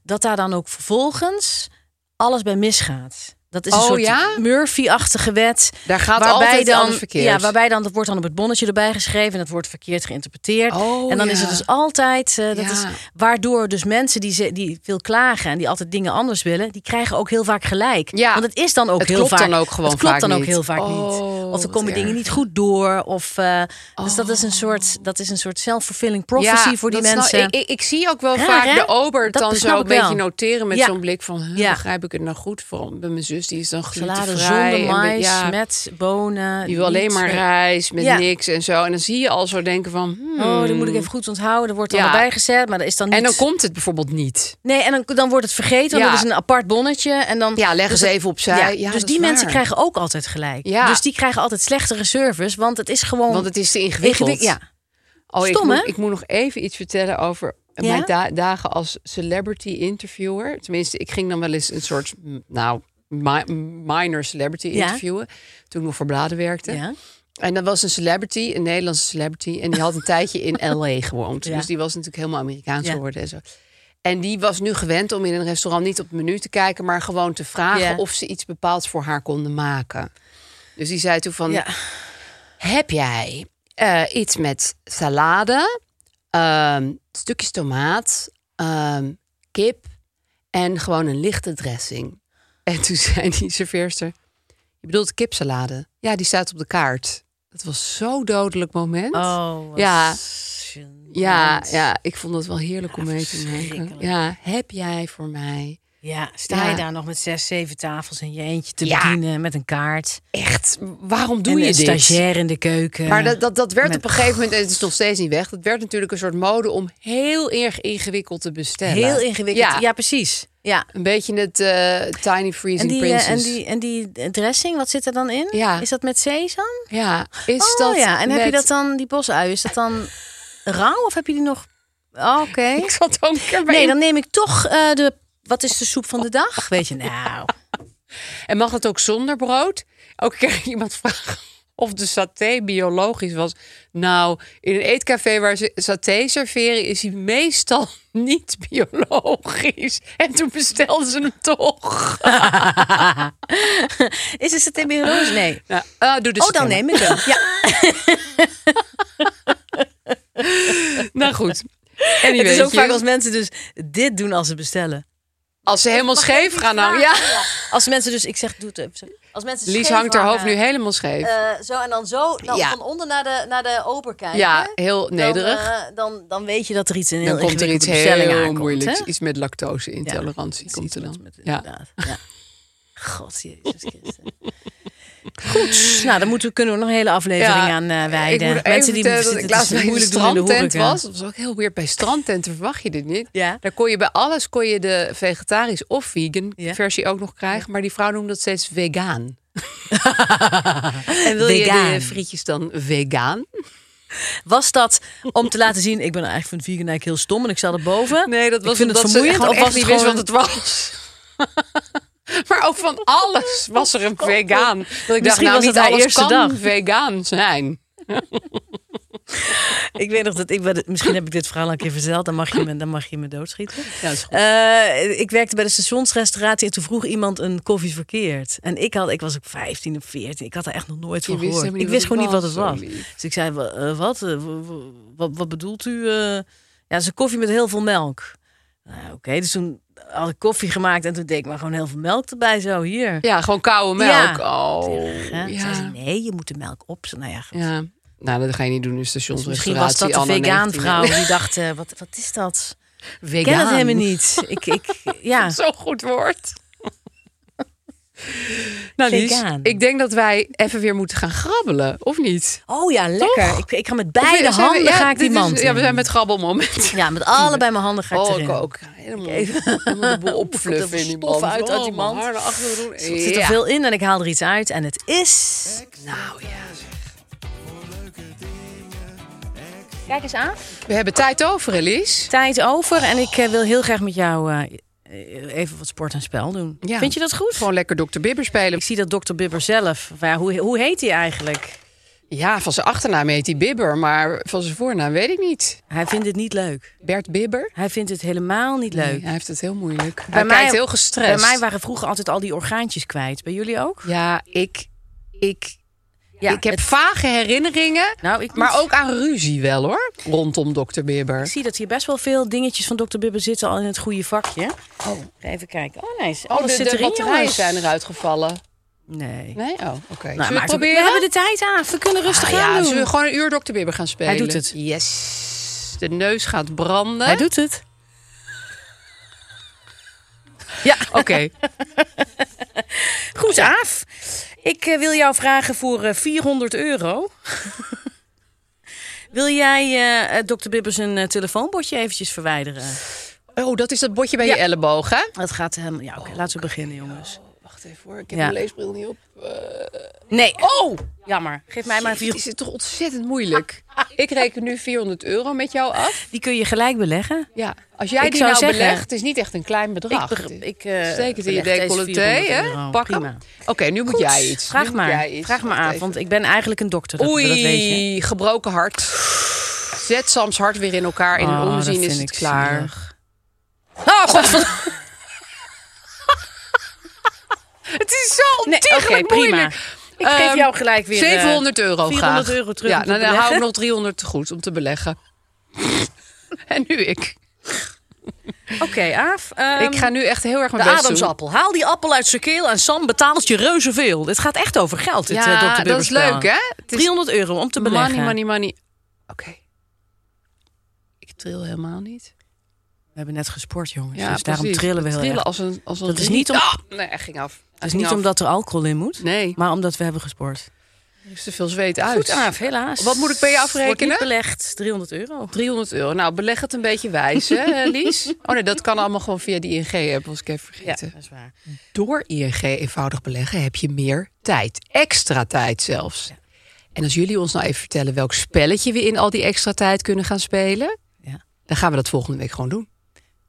Dat daar dan ook vervolgens alles bij misgaat. Dat is een Oh, soort ja? Murphy-achtige wet. Daar gaat altijd dan, alles verkeerd. Ja, waarbij dan, dat wordt dan op het bonnetje erbij geschreven... en dat wordt verkeerd geïnterpreteerd. Oh, en dan ja. is het dus altijd... eh, dat Ja. is, waardoor dus mensen die, ze, die veel klagen... en die altijd dingen anders willen... die krijgen ook heel vaak gelijk. Ja. Want het is dan ook Het heel klopt vaak... dan ook gewoon Het klopt vaak dan ook niet. heel vaak Oh, niet. Of er wat komen dingen erg. Oh. niet goed door. Of, eh, Dus dat is een soort, dat is een soort self-fulfilling prophecy voor die dat snap- mensen. ik, ik, ik zie ook wel Raar, vaak hè? de ober het Dat dan snap zo een ik wel. beetje noteren met Ja. zo'n blik van... huh, Ja. begrijp ik het nou goed? Vooral bij mijn zus, die is dan Salade glutenvrij. en zonder met- mais, ja, met bonen. eh, Die wil alleen niets maar met- rijst met Ja. niks en zo. En dan zie je al zo denken van... hmm. Oh, dat moet ik even goed onthouden. Er wordt dan Ja. erbij gezet, maar er is dan niet... En dan komt het bijvoorbeeld niet. Nee, en dan, dan wordt het vergeten, want Ja. dat is een apart bonnetje. En dan, Ja, leggen ze dat- even opzij. Ja, dat dus is die mensen waar. krijgen ook altijd gelijk. Ja. Dus die krijgen altijd slechtere service, want het is gewoon... Want het is te ingewikkeld. Ingewi- ja. Oh, ik, Stom, moet, hè? ik moet nog even iets vertellen over Ja? mijn da- dagen als celebrity interviewer. Tenminste, ik ging dan wel eens een soort, mm, nou, mi- minor celebrity Ja. interviewen. Toen ik nog voor bladen werkte. Ja. En dat was een celebrity, een Nederlandse celebrity. En die had een tijdje in L.A. gewoond. Ja. Dus die was natuurlijk helemaal Amerikaans Ja. geworden en zo. En die was nu gewend om in een restaurant niet op het menu te kijken... maar gewoon te vragen Ja. of ze iets bepaalds voor haar konden maken. Dus die zei toen van... Ja. Heb jij eh, iets met salade, ehm, stukjes tomaat, ehm, kip en gewoon een lichte dressing? En toen zei die serveerster, je bedoelt kipsalade? Ja, die staat op de kaart. Dat was zo'n dodelijk moment. Oh, wat Ja. gênant. Ja, ja, ik vond het wel heerlijk om Ja, mee te maken. verschrikkelijk. Ja, heb jij voor mij Ja, sta je Ja. daar nog met zes, zeven tafels en je eentje te Ja. bedienen met een kaart. echt? Waarom doe en je een dit? stagiair in de keuken. Maar dat, dat, dat werd Met- op een gegeven moment, en het is nog steeds niet weg, dat werd natuurlijk een soort mode om heel erg ingewikkeld te bestellen. Heel ingewikkeld. Ja, Ja, precies. Ja. een beetje het eh, Tiny En Freezing die, eh, Princess. en, die, en die dressing, wat zit er dan in? Ja. Is dat met sesam? Ja, is oh dat. ja, en heb je met- dat dan, die bosui, is dat dan rauw of heb je die nog... Oh, Oké. Ik zat ook een keer bij Nee, in- dan neem ik toch eh, de... Wat is de soep van de dag? Weet je, nou... En mag dat ook zonder brood? Ook kreeg iemand vragen of de saté biologisch was. Nou, in een eetcafé waar ze saté serveren is hij meestal niet biologisch. En toen bestelden ze hem toch. Is het saté biologisch? Nee. Ja, ah, doe de Oh, dan scanner. neem ik hem. Ja, Nou goed. het is ook Anyway, vaak als mensen dus dit doen als ze bestellen. als ze helemaal scheef gaan dan. Ja. vragen? Als mensen dus, ik zeg, doe het even. zo. Als mensen dus Lies scheef hangt haar hoofd nu hangen, helemaal scheef. eh, zo en dan zo dan Ja. van onder naar de, naar de ober kijken. ja, heel dan, nederig. eh, dan, dan weet je dat er iets in heel dan komt er iets ingewikkelde bestelling heel aankomt, moeilijks. hè? Iets met lactose-intolerantie komt er dan. Ja. Ja. Inderdaad. ja. God, Jezus Christus. Goed, nou dan moeten we, kunnen we nog een hele aflevering aan eh, wijden. Ik moet Mensen even die vertellen zitten dat te ik laatst bij een moeilijk doen in de strandtent horeca. was. Dat was ook heel weird. Bij strandtenten verwacht je dit niet. Ja. Daar kon je bij alles kon je de vegetarisch of vegan Ja. versie ook nog krijgen. Maar die vrouw noemde dat steeds vegan. En En wil je de vegan. frietjes dan vegan? Was dat om te laten zien, ik ben eigenlijk van het vegan eigenlijk heel stom en ik sta erboven. Nee, dat Ik was vind het omdat vermoeiend. ze gewoon of was echt het niet gewoon... wist wat het was. maar ook van alles was er een vegan. Dat ik dacht, Misschien nou was niet het haar alles eerste kan dag. vegan zijn. Ik weet nog dat ik bij de- misschien heb ik dit verhaal al een keer verteld. Dan mag je me, dan mag je me doodschieten. Ja, dat is goed. Eh, ik werkte bij de stationsrestauratie en toen vroeg iemand een koffie verkeerd. En ik had, ik was ook 15 of 14. Ik had er echt nog nooit Je van wist gehoord. helemaal ik niet wist wat gewoon niet het wat was, het was. zo lief. Dus ik zei, wa- eh, wat? Eh, wa- wa- wat? Wat bedoelt u? eh? ja, ze koffie met heel veel melk. Nou, Oké, dus toen had ik koffie gemaakt en toen deed ik maar gewoon heel veel melk erbij. Zo, hier. Ja, gewoon koude melk. Ja. Oh, Terug, hè? Toen ja. zei ze, nee, je moet de melk op. Nou ja, goed. Ja. Nou, dat ga je niet doen in stationsrestauratie. Dus Misschien was dat de Anna vegaan 19e. vrouw die dacht, eh, wat, wat is dat? Vegan. Ik ken het helemaal niet. Ik, ik, ja. Zo'n goed woord. nou, Lies, Vegaan. ik denk dat wij even weer moeten gaan grabbelen, of niet? Oh ja, lekker. Toch? Ik, ik ga met Of beide zijn we- handen ja, ga ik dit die is- mand Ja, we in. zijn met grabbelmoment. Ja, met allebei mijn handen ga ik Oh, erin. ik ook. Helemaal, Even- helemaal de boel Wat opfluffen een in die stof mand. uit uit die Oh, mand. mijn haar naar achteren doen. Er zit er Ja. veel in en ik haal er iets uit. En het is... Nou ja. Kijk eens aan. We hebben tijd over, Elise. Tijd over en ik eh, wil heel graag met jou eh, even wat sport en spel doen. Ja. Vind je dat goed? Gewoon lekker Dr. Bibber spelen. Ik zie dat dokter Bibber zelf. Maar ja, hoe, hoe heet hij eigenlijk? Ja, van zijn achternaam heet hij Bibber, maar van zijn voornaam weet ik niet. Hij vindt het niet leuk. Bert Bibber? Hij vindt het helemaal niet leuk. Nee, hij heeft het heel moeilijk. hij kijkt heel gestrest. Bij mij waren vroeger altijd al die orgaantjes kwijt. Bij jullie ook? Ja, ik, ik, Ja, ik heb het- vage herinneringen, Nou, ik maar moet- ook aan ruzie wel hoor, rondom Dr. Bibber. Ik zie dat hier best wel veel dingetjes van Dr. Bibber zitten al in het goede vakje. Oh. Even kijken. Oh, nee. Oh, alles de, zit de erin, batterijen jongens. zijn eruit gevallen. Nee. Nee? Oh, oké. Nou, zullen we het maar toen- we proberen? hebben de tijd af. We kunnen rustig Ah, aan ja, doen. zullen we gewoon een uur Dr. Bibber gaan spelen? doet het. Yes. De neus gaat branden. Hij doet het. Ja, Oké. goed, Aaf. Ik eh, wil jou vragen voor eh, 400 euro. wil jij eh, eh, Dr. Bibbers een telefoonbordje eventjes verwijderen? Oh, dat is dat botje bij Ja. je elleboog, hè? Dat gaat helemaal... Ja, oké, laten we beginnen, jongens. Wacht even hoor, ik heb Ja. mijn leesbril niet op. Nee. Oh! Jammer. Geef mij maar Het 400. is toch ontzettend moeilijk. ik reken nu 400 euro met jou af. Die kun je gelijk beleggen. Ja, als jij Ik die zou nou zeggen- belegt, het is niet echt een klein bedrag. Ik beg- ik, eh, Steek het in je beleg deze decolleté, 400 hè? euro. Pak hem. Prima. Oké, nu moet Goed, jij iets. Nu Vraag moet maar. jij iets. Vraag me Wacht aan, even. want ik ben eigenlijk een dokter. Dat, dat weet je. Oei, gebroken hart. Zet Sams hart weer in elkaar. In Oh, een dat omzien vind is het ik klaar. zielig. Oh, godver- Het is zo Nee, ontiegelijk oké, prima. moeilijk. Ik geef Ehm, jou gelijk weer, eh, 700 euro 400 graag. euro terug Ja, om te nou, dan hou ik beleggen. nog 300 te goed om te beleggen. en nu ik. Oké, Aaf. ehm, ik ga nu echt heel erg De mijn best doen. Adamsappel. Haal die appel uit zijn keel en Sam betaalt je reuze veel. Dit gaat echt over geld, dit Ja, eh, Dr. dat is Bibberspel. leuk, hè? Het is 300 euro om te beleggen. Money, money, money. Oké. Ik tril helemaal niet. We hebben net gesport, jongens. dus daarom precies. trillen we heel erg. als een, als een Dat is riet. niet om- Ah! nee, hij ging af. Hij Het is ging af. niet omdat er alcohol in moet, Nee. maar omdat we hebben gesport. Er is te veel zweet uit. Goed, Aaf, helaas. Wat moet ik bij je afrekenen? Wordt niet belegd, 300 euro. 300 euro. Nou, beleg het een beetje wijs, hè, eh, Lies? Oh nee, dat kan allemaal gewoon via die ING-app, was ik even Ja, vergeten. dat is waar. Door ING eenvoudig beleggen heb je meer tijd. Extra tijd zelfs. En als jullie ons nou even vertellen welk spelletje we in al die extra tijd kunnen gaan spelen... Ja. dan gaan we dat volgende week gewoon doen.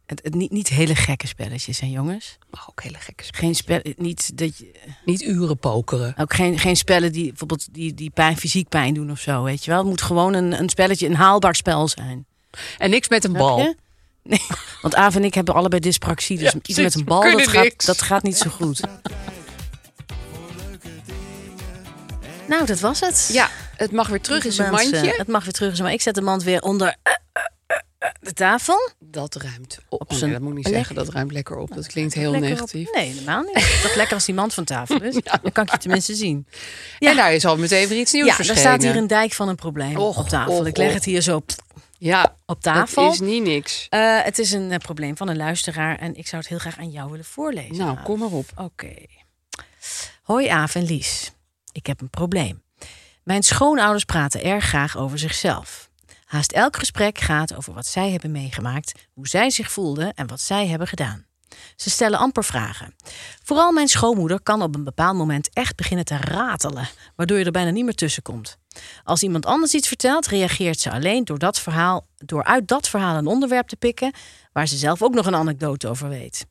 Het, het, niet, niet hele gekke spelletjes, hè, jongens. Maar ook hele gekke spellen. Geen spel, niet dat je, Niet uren pokeren. ook geen, geen spellen die bijvoorbeeld die, die pijn, fysiek pijn doen of zo, weet je wel. Het moet gewoon een, een spelletje, een haalbaar spel zijn. En niks met een Snap bal. je? Nee, want Aaf en ik hebben allebei dyspraxie. Dus Ja, iets met precies. een We bal, kunnen dat gaat, niks. dat gaat niet zo goed. Nou, dat was het. Ja, het mag weer terug in zijn Mensen, mandje. Het mag weer terug in zijn mandje. Ik zet de mand weer onder eh, eh, eh, eh, de tafel. Dat ruimt op. Oh, zijn nee, dat moet ik niet plek. zeggen, dat ruimt lekker op. Dat klinkt heel Lekker op- negatief. Nee, helemaal niet. Het is toch lekker als die mand van tafel is. Dan kan ik je tenminste zien. En daar is al meteen weer iets nieuws Ja, daar verschenen. staat hier een dijk van een probleem Och, op tafel. och, ik leg och. het hier zo op, ja, op tafel. Het is niet niks. Eh, het is een eh, probleem van een luisteraar. En ik zou het heel graag aan jou willen voorlezen. Nou, Aaf. kom maar op. Oké. Hoi Aaf en Lies. Ik heb een probleem. Mijn schoonouders praten erg graag over zichzelf. Haast elk gesprek gaat over wat zij hebben meegemaakt, hoe zij zich voelden en wat zij hebben gedaan. Ze stellen amper vragen. Vooral mijn schoonmoeder kan op een bepaald moment echt beginnen te ratelen, waardoor je er bijna niet meer tussen komt. Als iemand anders iets vertelt, reageert ze alleen door, dat verhaal, door uit dat verhaal een onderwerp te pikken waar ze zelf ook nog een anekdote over weet.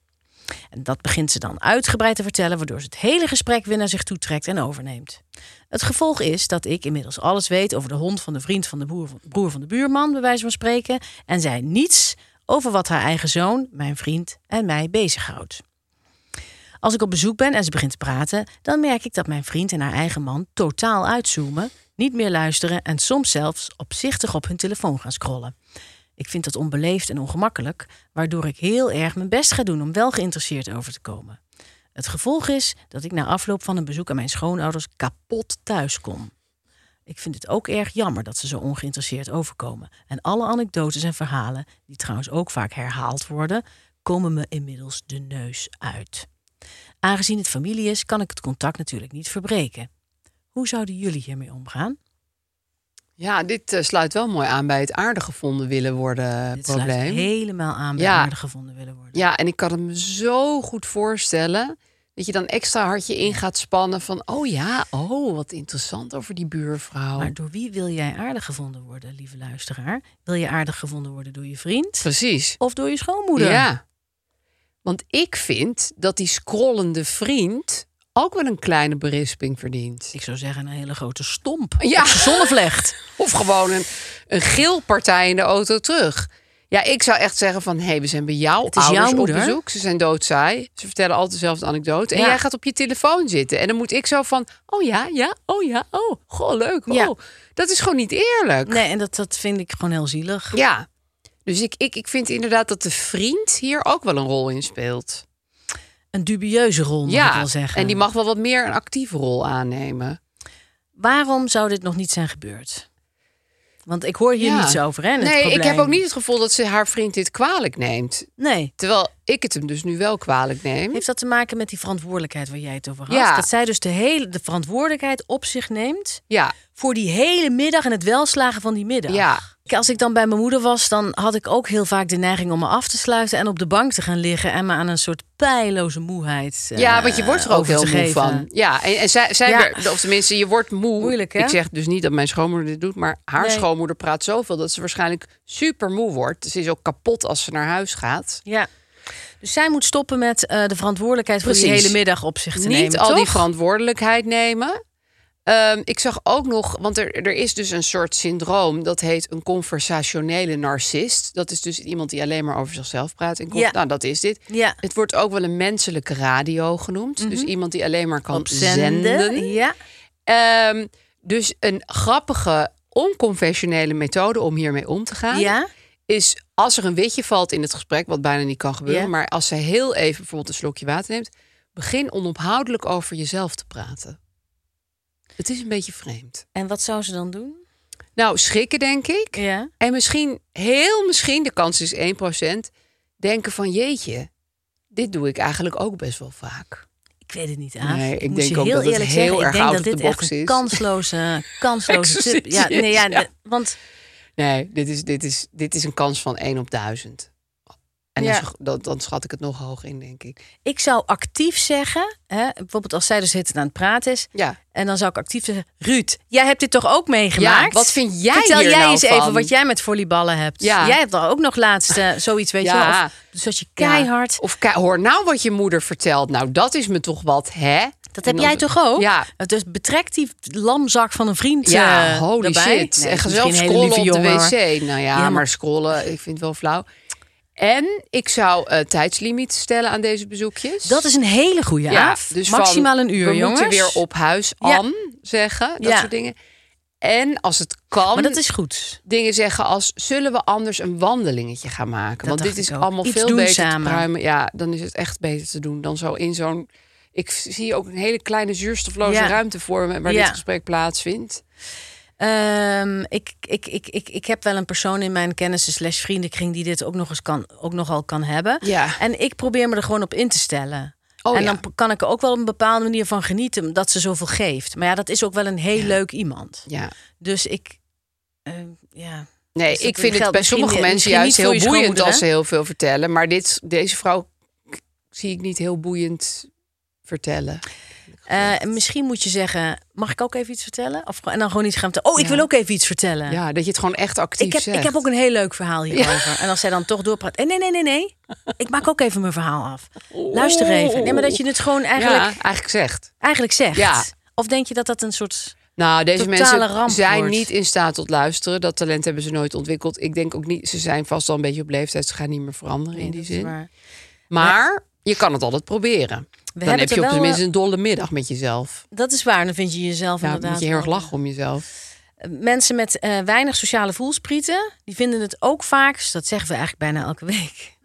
En dat begint ze dan uitgebreid te vertellen, waardoor ze het hele gesprek weer naar zich toe trekt en overneemt. Het gevolg is dat ik inmiddels alles weet over de hond van de vriend van de boer, broer van de buurman, bij wijze van spreken, en zij niets over wat haar eigen zoon, mijn vriend en mij bezighoudt. Als ik op bezoek ben en ze begint te praten, dan merk ik dat mijn vriend en haar eigen man totaal uitzoomen, niet meer luisteren en soms zelfs opzichtig op hun telefoon gaan scrollen. Ik vind dat onbeleefd en ongemakkelijk, waardoor ik heel erg mijn best ga doen om wel geïnteresseerd over te komen. Het gevolg is dat ik na afloop van een bezoek aan mijn schoonouders kapot thuis kom. Ik vind het ook erg jammer dat ze zo ongeïnteresseerd overkomen. En alle anekdotes en verhalen, die trouwens ook vaak herhaald worden, komen me inmiddels de neus uit. Aangezien het familie is, kan ik het contact natuurlijk niet verbreken. Hoe zouden jullie hiermee omgaan? Ja, dit eh, sluit wel mooi aan bij het aardig gevonden willen worden Dit sluit probleem. helemaal aan bij Ja. aardig gevonden willen worden. Ja, en ik kan het me zo goed voorstellen dat je dan extra hard je in gaat spannen van oh ja, oh wat interessant over die buurvrouw. Maar door wie wil jij aardig gevonden worden, lieve luisteraar? Wil je aardig gevonden worden door je vriend Precies. of door je schoonmoeder? Ja. Want ik vind dat die scrollende vriend ook wel een kleine berisping verdient. Ik zou zeggen een hele grote stomp. Ja. Op zijn Zonnevlecht. Of gewoon een, een geel partij in de auto terug. Ja, ik zou echt zeggen van... hé, hey, we zijn bij jou Het is ouders jouw moeder. op bezoek. Ze zijn doodzaai. Ze vertellen altijd dezelfde anekdote. Ja. En jij gaat op je telefoon zitten. En dan moet ik zo van... oh ja, ja, oh ja, oh, goh, leuk. Ja. Oh, dat is gewoon niet eerlijk. Nee, en dat, dat vind ik gewoon heel zielig. Ja, dus ik, ik, ik vind inderdaad dat de vriend hier ook wel een rol in speelt. Een dubieuze rol, mag ik ja, wel zeggen. en die mag wel wat meer een actieve rol aannemen. Waarom zou dit nog niet zijn gebeurd? Want ik hoor hier Ja. niets over, hè? het Nee, ik heb probleem. ook niet het gevoel dat ze haar vriend dit kwalijk neemt. Nee. Terwijl ik het hem dus nu wel kwalijk neem. Heeft dat te maken met die verantwoordelijkheid waar jij het over had? Hm? Ja. Dat zij dus de hele de verantwoordelijkheid op zich neemt Ja, voor die hele middag en het welslagen van die middag. Ja. Kijk, Als ik dan bij mijn moeder was, dan had ik ook heel vaak de neiging om me af te sluiten en op de bank te gaan liggen en me aan een soort pijloze moeheid. eh, ja want je wordt er ook over heel te moe geven. van. Ja, en, en zij, zij Ja. werd- of tenminste, je wordt moe. Moeilijk, hè? Ik zeg dus niet dat mijn schoonmoeder dit doet, maar haar Nee. schoonmoeder praat zoveel dat ze waarschijnlijk super moe wordt. Ze is ook kapot als ze naar huis gaat. Ja. Dus zij moet stoppen met eh, de verantwoordelijkheid voor die Precies. hele middag op zich te Niet nemen. al die toch? verantwoordelijkheid nemen. Ehm, ik zag ook nog, want er, er is dus een soort syndroom dat heet een conversationele narcist. Dat is dus iemand die alleen maar over zichzelf praat. En Ja. Nou, dat is dit. Ja. Mhm. Het wordt ook wel een menselijke radio genoemd. Dus iemand die alleen maar kan Op zenden. zenden. Ja. Ehm, dus een grappige, onconventionele methode om hiermee om te gaan... Ja. is als er een witje valt in het gesprek... wat bijna niet kan gebeuren... Ja. maar als ze heel even bijvoorbeeld een slokje water neemt... begin onophoudelijk over jezelf te praten. Het is een beetje vreemd. En wat zou ze dan doen? Nou, schrikken denk ik. Ja. En misschien, heel misschien, de kans is 1%... denken van jeetje, dit doe ik eigenlijk ook best wel vaak. Ik weet het niet, Aaf. Nee, ik moet denk je ook heel dat het eerlijk heel zeggen, erg ik denk out dat of the dit echt box een is. kansloze, kansloze tip. Ja, Exercitie nee, is, ja, ja. de- want Nee, dit is, dit is, dit is een kans van 1 op 1000. En Ja. dan, sch- dan, dan schat ik het nog hoog in, denk ik. ik zou actief zeggen, hè, bijvoorbeeld als zij dus zitten aan het praten is, Ja. en dan zou ik actief zeggen, Ruud, jij hebt dit toch ook meegemaakt? Ja, wat vind jij Vertel hier jij nou eens van? even wat jij met volleyballen hebt. Ja. Jij hebt daar ook nog laatst eh, zoiets, weet je wel. Ja. Of- Dus dat je keihard... Ja. Of ke- hoor nou wat je moeder vertelt. Nou, dat is me toch wat, hè? Dat En heb dan- jij toch ook? Ja. Dus betrek die lamzak van een vriend Ja, eh, holy daarbij. shit. Nee, en ga misschien zelf een hele scrollen lieve op jongen, de hoor. wc. Nou ja, maar- maar... scrollen, ik vind het wel flauw. En ik zou eh tijdslimiet stellen aan deze bezoekjes. Dat is een hele goede af. dus Maximaal van, een uur, we jongens. moeten weer op huis, Ja. An, zeggen. Dat Ja. soort dingen. En als het kan... Maar dat is goed. dingen zeggen als zullen we anders een wandelingetje gaan maken? Want dacht dit is ik ook. allemaal Iets veel doen beter samen. te pruimen. Ja, dan is het echt beter te doen dan zo in zo'n. Ik zie ook een hele kleine zuurstofloze Ja. ruimte voor me waar Ja. dit gesprek plaatsvindt. Ehm, ik, ik, ik, ik, ik heb wel een persoon in mijn kennissen slash vriendenkring die dit ook nog eens kan, ook nogal kan hebben. Ja. En ik probeer me er gewoon op in te stellen. Oh, en ja. dan p- kan ik er ook wel op een bepaalde manier van genieten dat ze zoveel geeft. Maar ja, dat is ook wel een heel leuk iemand. Ja. Dus ik, ehm, ja. Nee, Dus dat ik vind het geldt bij sommige mensen misschien- misschien juist niet heel voor boeiend je schoonmoeder, als ze hè? heel veel vertellen. Maar dit, deze vrouw k- zie ik niet heel boeiend vertellen. Eh, misschien moet je zeggen, mag ik ook even iets vertellen? Of, en dan gewoon iets gaan vertellen. Oh, ik wil ook even iets vertellen. Ja, dat je het gewoon echt actief Ik heb, zegt. ik heb ook een heel leuk verhaal hierover. En als zij dan toch doorpraat. eh, Nee, nee, nee, nee. Ik maak ook even mijn verhaal af. Luister even. Nee, maar dat je het gewoon eigenlijk, Oh. Ja, eigenlijk zegt. eigenlijk zegt. Ja. Of denk je dat dat een soort. Nou, deze Totale ramp mensen zijn wordt. niet in staat tot luisteren. Dat talent hebben ze nooit ontwikkeld. Ik denk ook niet, ze zijn vast al een beetje op leeftijd. Ze gaan niet meer veranderen in die Dat is zin. Maar, waar. Maar- je kan het altijd proberen. Dan hebben heb het er je op wel, zijn minst eh, een dolle middag met jezelf. Dat is waar. Dan vind je jezelf Ja, dan inderdaad. moet je heel erg wel- lachen om jezelf. Mensen met eh, weinig sociale voelsprieten, die vinden het ook vaak. dus Dat zeggen we eigenlijk bijna elke week.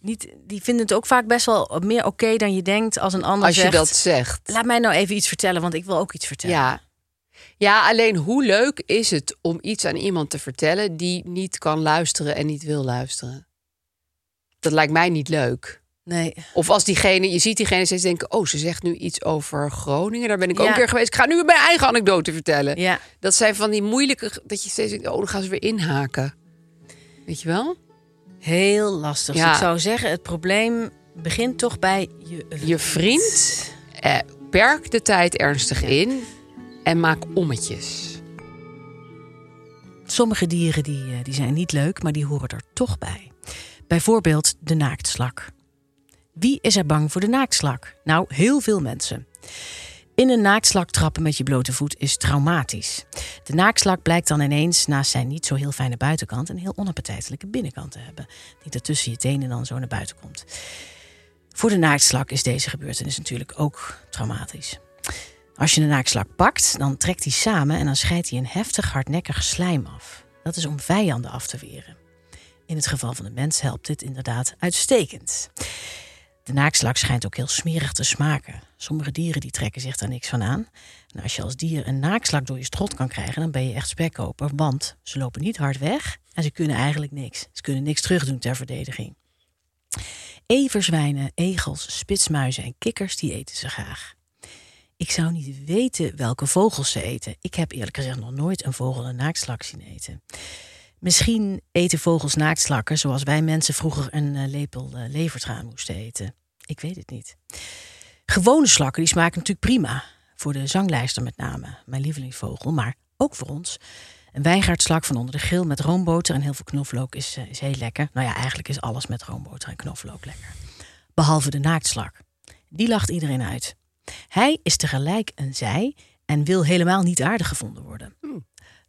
Niet, die vinden het ook vaak best wel meer oké dan je denkt als een ander Als je zegt. dat zegt. Laat mij nou even iets vertellen, want ik wil ook iets vertellen. Ja. Ja, alleen hoe leuk is het om iets aan iemand te vertellen die niet kan luisteren en niet wil luisteren? Dat lijkt mij niet leuk. Nee. Of als diegene, je ziet diegene steeds denken: Oh, ze zegt nu iets over Groningen. Daar ben ik ook Ja. een keer geweest. Ik ga nu mijn eigen anekdote vertellen. Ja. Dat zijn van die moeilijke, dat je steeds denkt: Oh, dan gaan ze weer inhaken. Weet je wel? Heel lastig. Dus Ja. ik zou zeggen, het probleem begint toch bij je vriend. Je vriend, eh, perk de tijd ernstig in en maak ommetjes. Sommige dieren die, eh, die zijn niet leuk, maar die horen er toch bij. Bijvoorbeeld de naaktslak. Wie is er bang voor de naaktslak? Nou, heel veel mensen. In een naaktslak trappen met je blote voet is traumatisch. De naaktslak blijkt dan ineens naast zijn niet zo heel fijne buitenkant... een heel onappetijtelijke binnenkant te hebben. Die er tussen je tenen dan zo naar buiten komt. Voor de naaktslak is deze gebeurtenis natuurlijk ook traumatisch. Als je een naakslak pakt, dan trekt hij samen en dan scheidt hij een heftig hardnekkig slijm af. Dat is om vijanden af te weren. In het geval van de mens helpt dit inderdaad uitstekend. De naakslak schijnt ook heel smerig te smaken. Sommige dieren die trekken zich daar niks van aan. En als je als dier een naakslak door je strot kan krijgen, dan ben je echt spekkoper. Want ze lopen niet hard weg en ze kunnen eigenlijk niks. Ze kunnen niks terugdoen ter verdediging. Everzwijnen, egels, spitsmuizen en kikkers die eten ze graag. Ik zou niet weten welke vogels ze eten. Ik heb eerlijk gezegd nog nooit een vogel een naaktslak zien eten. Misschien eten vogels naaktslakken zoals wij mensen vroeger een eh, lepel eh, levertraan moesten eten. Ik weet het niet. Gewone slakken die smaken natuurlijk prima. Voor de zanglijster met name, mijn lievelingsvogel, maar ook voor ons. Een wijngaardslak van onder de grill met roomboter en heel veel knoflook is, eh, is heel lekker. Nou ja, eigenlijk is alles met roomboter en knoflook lekker. Behalve de naaktslak. Die lacht iedereen uit. Hij is tegelijk een zij en wil helemaal niet aardig gevonden worden.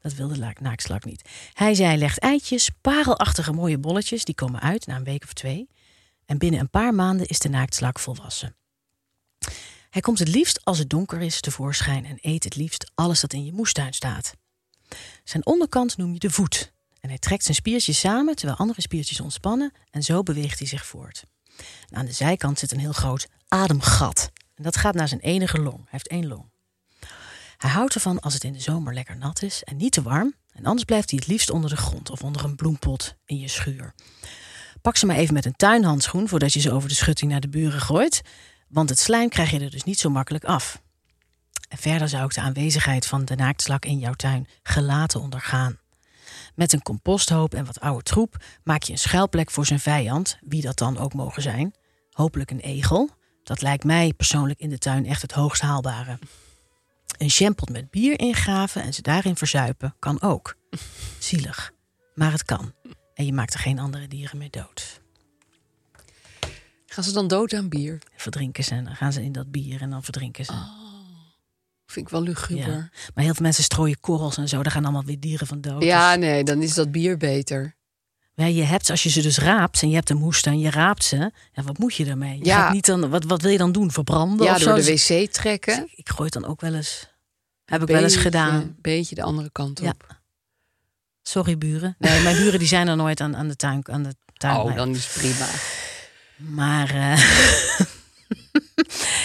Dat wil de la- naaktslak niet. Hij zij legt eitjes, parelachtige mooie bolletjes, die komen uit na een week of twee. En binnen een paar maanden is de naaktslak volwassen. Hij komt het liefst als het donker is tevoorschijn en eet het liefst alles dat in je moestuin staat. Zijn onderkant noem je de voet. En hij trekt zijn spiertjes samen terwijl andere spiertjes ontspannen en zo beweegt hij zich voort. En aan de zijkant zit een heel groot ademgat. En dat gaat naar zijn enige long. Hij heeft één long. Hij houdt ervan als het in de zomer lekker nat is en niet te warm. En anders blijft hij het liefst onder de grond of onder een bloempot in je schuur. Pak ze maar even met een tuinhandschoen voordat je ze over de schutting naar de buren gooit. Want het slijm krijg je er dus niet zo makkelijk af. En verder zou ik de aanwezigheid van de naaktslak in jouw tuin gelaten ondergaan. Met een composthoop en wat oude troep maak je een schuilplek voor zijn vijand, wie dat dan ook mogen zijn. Hopelijk een egel. Dat lijkt mij persoonlijk in de tuin echt het hoogst haalbare. Een champot met bier ingraven en ze daarin verzuipen kan ook. Zielig, maar het kan. En je maakt er geen andere dieren meer dood. Gaan ze dan dood aan bier? Verdrinken ze en dan gaan ze in dat bier en dan verdrinken Ah, ze. Oh, Vind ik wel luguber. ja. Ja, Maar heel veel mensen strooien korrels en zo, daar gaan allemaal weer dieren van dood. Dus- nee, dan is dat bier beter. Ja, je hebt, als je ze dus raapt en je hebt een moestuin, je raapt ze. Ja, wat moet je daarmee? Je Ja. gaat niet dan, wat, wat wil je dan doen? Verbranden Ja, of door zo? de wc trekken. Dus ik- ik gooi het dan ook wel eens. Heb ik wel eens Beetje- gedaan. beetje de andere kant Ja. op. Sorry, buren. Nee, mijn buren die zijn er nooit aan, aan de tuin. Aan de tuin Oh, dan is het prima. Maar eh,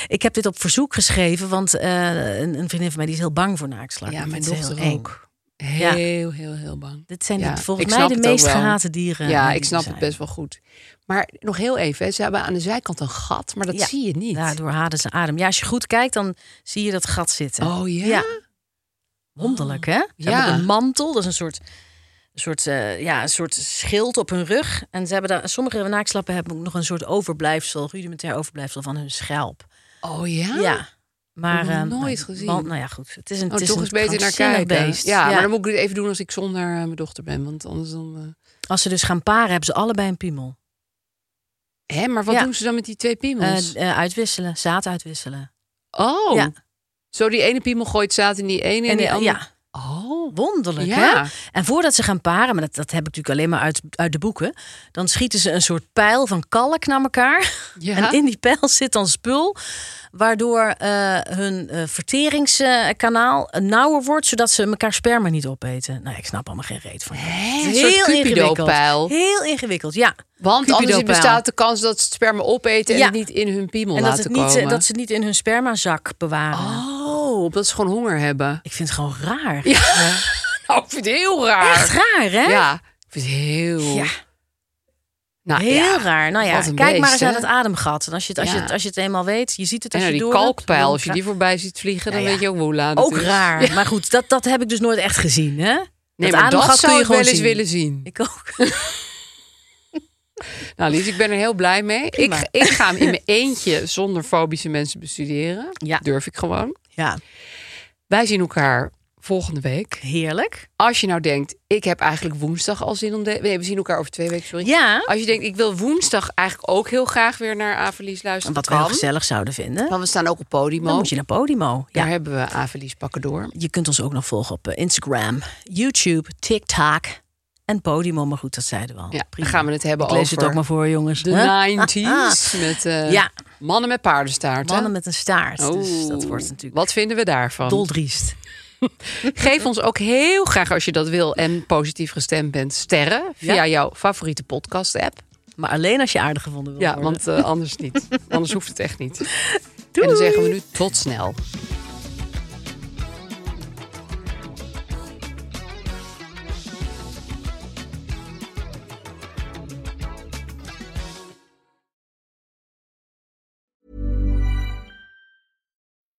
ik heb dit op verzoek geschreven, want eh, een, een vriendin van mij die is heel bang voor naaktslakken. Ja, Die mijn vindt ze dochter heel eng. ook. Heel, heel, heel bang. Dit zijn Ja, de- volgens ik mij snap de het ook meest wel. gehate dieren. Ja, die ik er snap het zijn. best wel goed. Maar nog heel even, hè, ze hebben aan de zijkant een gat, maar dat Ja, zie je niet. Daardoor hadden ze adem. Ja, als je goed kijkt, dan zie je dat gat zitten. Oh ja? Wonderlijk, hè? Ze Ja. hebben ook een mantel, dat is een soort, een soort, eh, ja, een soort schild op hun rug. En ze hebben daar, sommige naakslappen hebben ook nog een soort overblijfsel, rudimentair overblijfsel van hun schelp. Oh ja? Ja. Maar Ik heb eh, nog nooit nou, gezien. want- nou ja, goed. Het is een, Oh, het is toch een eens beter naar krankzinnig kijken. Beest. Ja, maar dan moet ik het even doen als ik zonder eh, mijn dochter ben. Want anders dan... eh, Als ze dus gaan paren, hebben ze allebei een piemel. eh. Hè, maar wat Ja. doen ze dan met die twee piemels? Eh, eh, uitwisselen, zaad uitwisselen. oh, ja. zo die ene piemel gooit zaad in die ene en, die eh, andere... ja, Oh, wonderlijk, Ja. hè? En voordat ze gaan paren, maar dat, dat heb ik natuurlijk alleen maar uit, uit de boeken... dan schieten ze een soort pijl van kalk naar elkaar. Ja. En in die pijl zit dan spul... waardoor eh, hun eh, verteringskanaal eh, nauwer wordt... zodat ze elkaar sperma niet opeten. Nou, ik snap allemaal geen reet van. Hè, Het een is soort heel Cupido-pijl. ingewikkeld. Heel ingewikkeld, ja. Want anders Cupido-pijl. bestaat de kans dat ze het sperma opeten en Ja. het niet in hun piemel En dat, laten het niet, eh, komen. dat ze het niet in hun spermazak bewaren. Oh, op. Dat is gewoon honger hebben. Ik vind het gewoon raar. Ja. Nou, ik vind het heel raar. Echt raar, hè? Ja, ik vind het heel... Ja, nou, heel ja. raar. Nou ja, Wat een kijk beest, maar eens hè? aan het ademgat. En als je het, als je Ja. het, als je het eenmaal weet, je ziet het En als nou, je die door hebt, kalkpijl, dan als je ka- die voorbij ziet vliegen, dan Ja, ja. weet je ook hoe laat het Ook is. raar. Maar goed, dat, dat heb ik dus nooit echt gezien, hè? Nee, dat maar dat ademgat kun zou je ik wel gewoon eens zien. willen zien. Ik ook. Nou, Lies, ik ben er heel blij mee. Ik, Prima. ik ga hem in mijn eentje zonder fobische mensen bestuderen. Ja. Durf ik gewoon. Ja, Wij zien elkaar volgende week. heerlijk. Als je nou denkt, ik heb eigenlijk woensdag al zin om... De... Nee, we zien elkaar over twee weken, sorry. Ja. Als je denkt, ik wil woensdag eigenlijk ook heel graag weer naar Avelies luisteren. Wat we kan. heel gezellig zouden vinden. Want we staan ook op podium. Dan moet je naar Podimo. Daar Ja. Oh, hebben we Avelies pakken door. Je kunt ons ook nog volgen op eh, Instagram, YouTube, TikTok en Podimo. Maar goed, dat zeiden we al. Ja, Prima. gaan we het hebben Ik lees over het ook maar voor, jongens. Ah, De Huh? 90s met eh, Ja. mannen met paardenstaart. hè? Mannen met een staart. Dus dat Oeh, wordt natuurlijk Wat vinden we daarvan? doldriest. Geef ons ook heel graag, als je dat wil en positief gestemd bent, sterren via Ja. jouw favoriete podcast-app. Maar alleen als je aardig gevonden wil Ja, worden. want eh, anders niet. anders hoeft het echt niet. En dan zeggen we nu tot snel.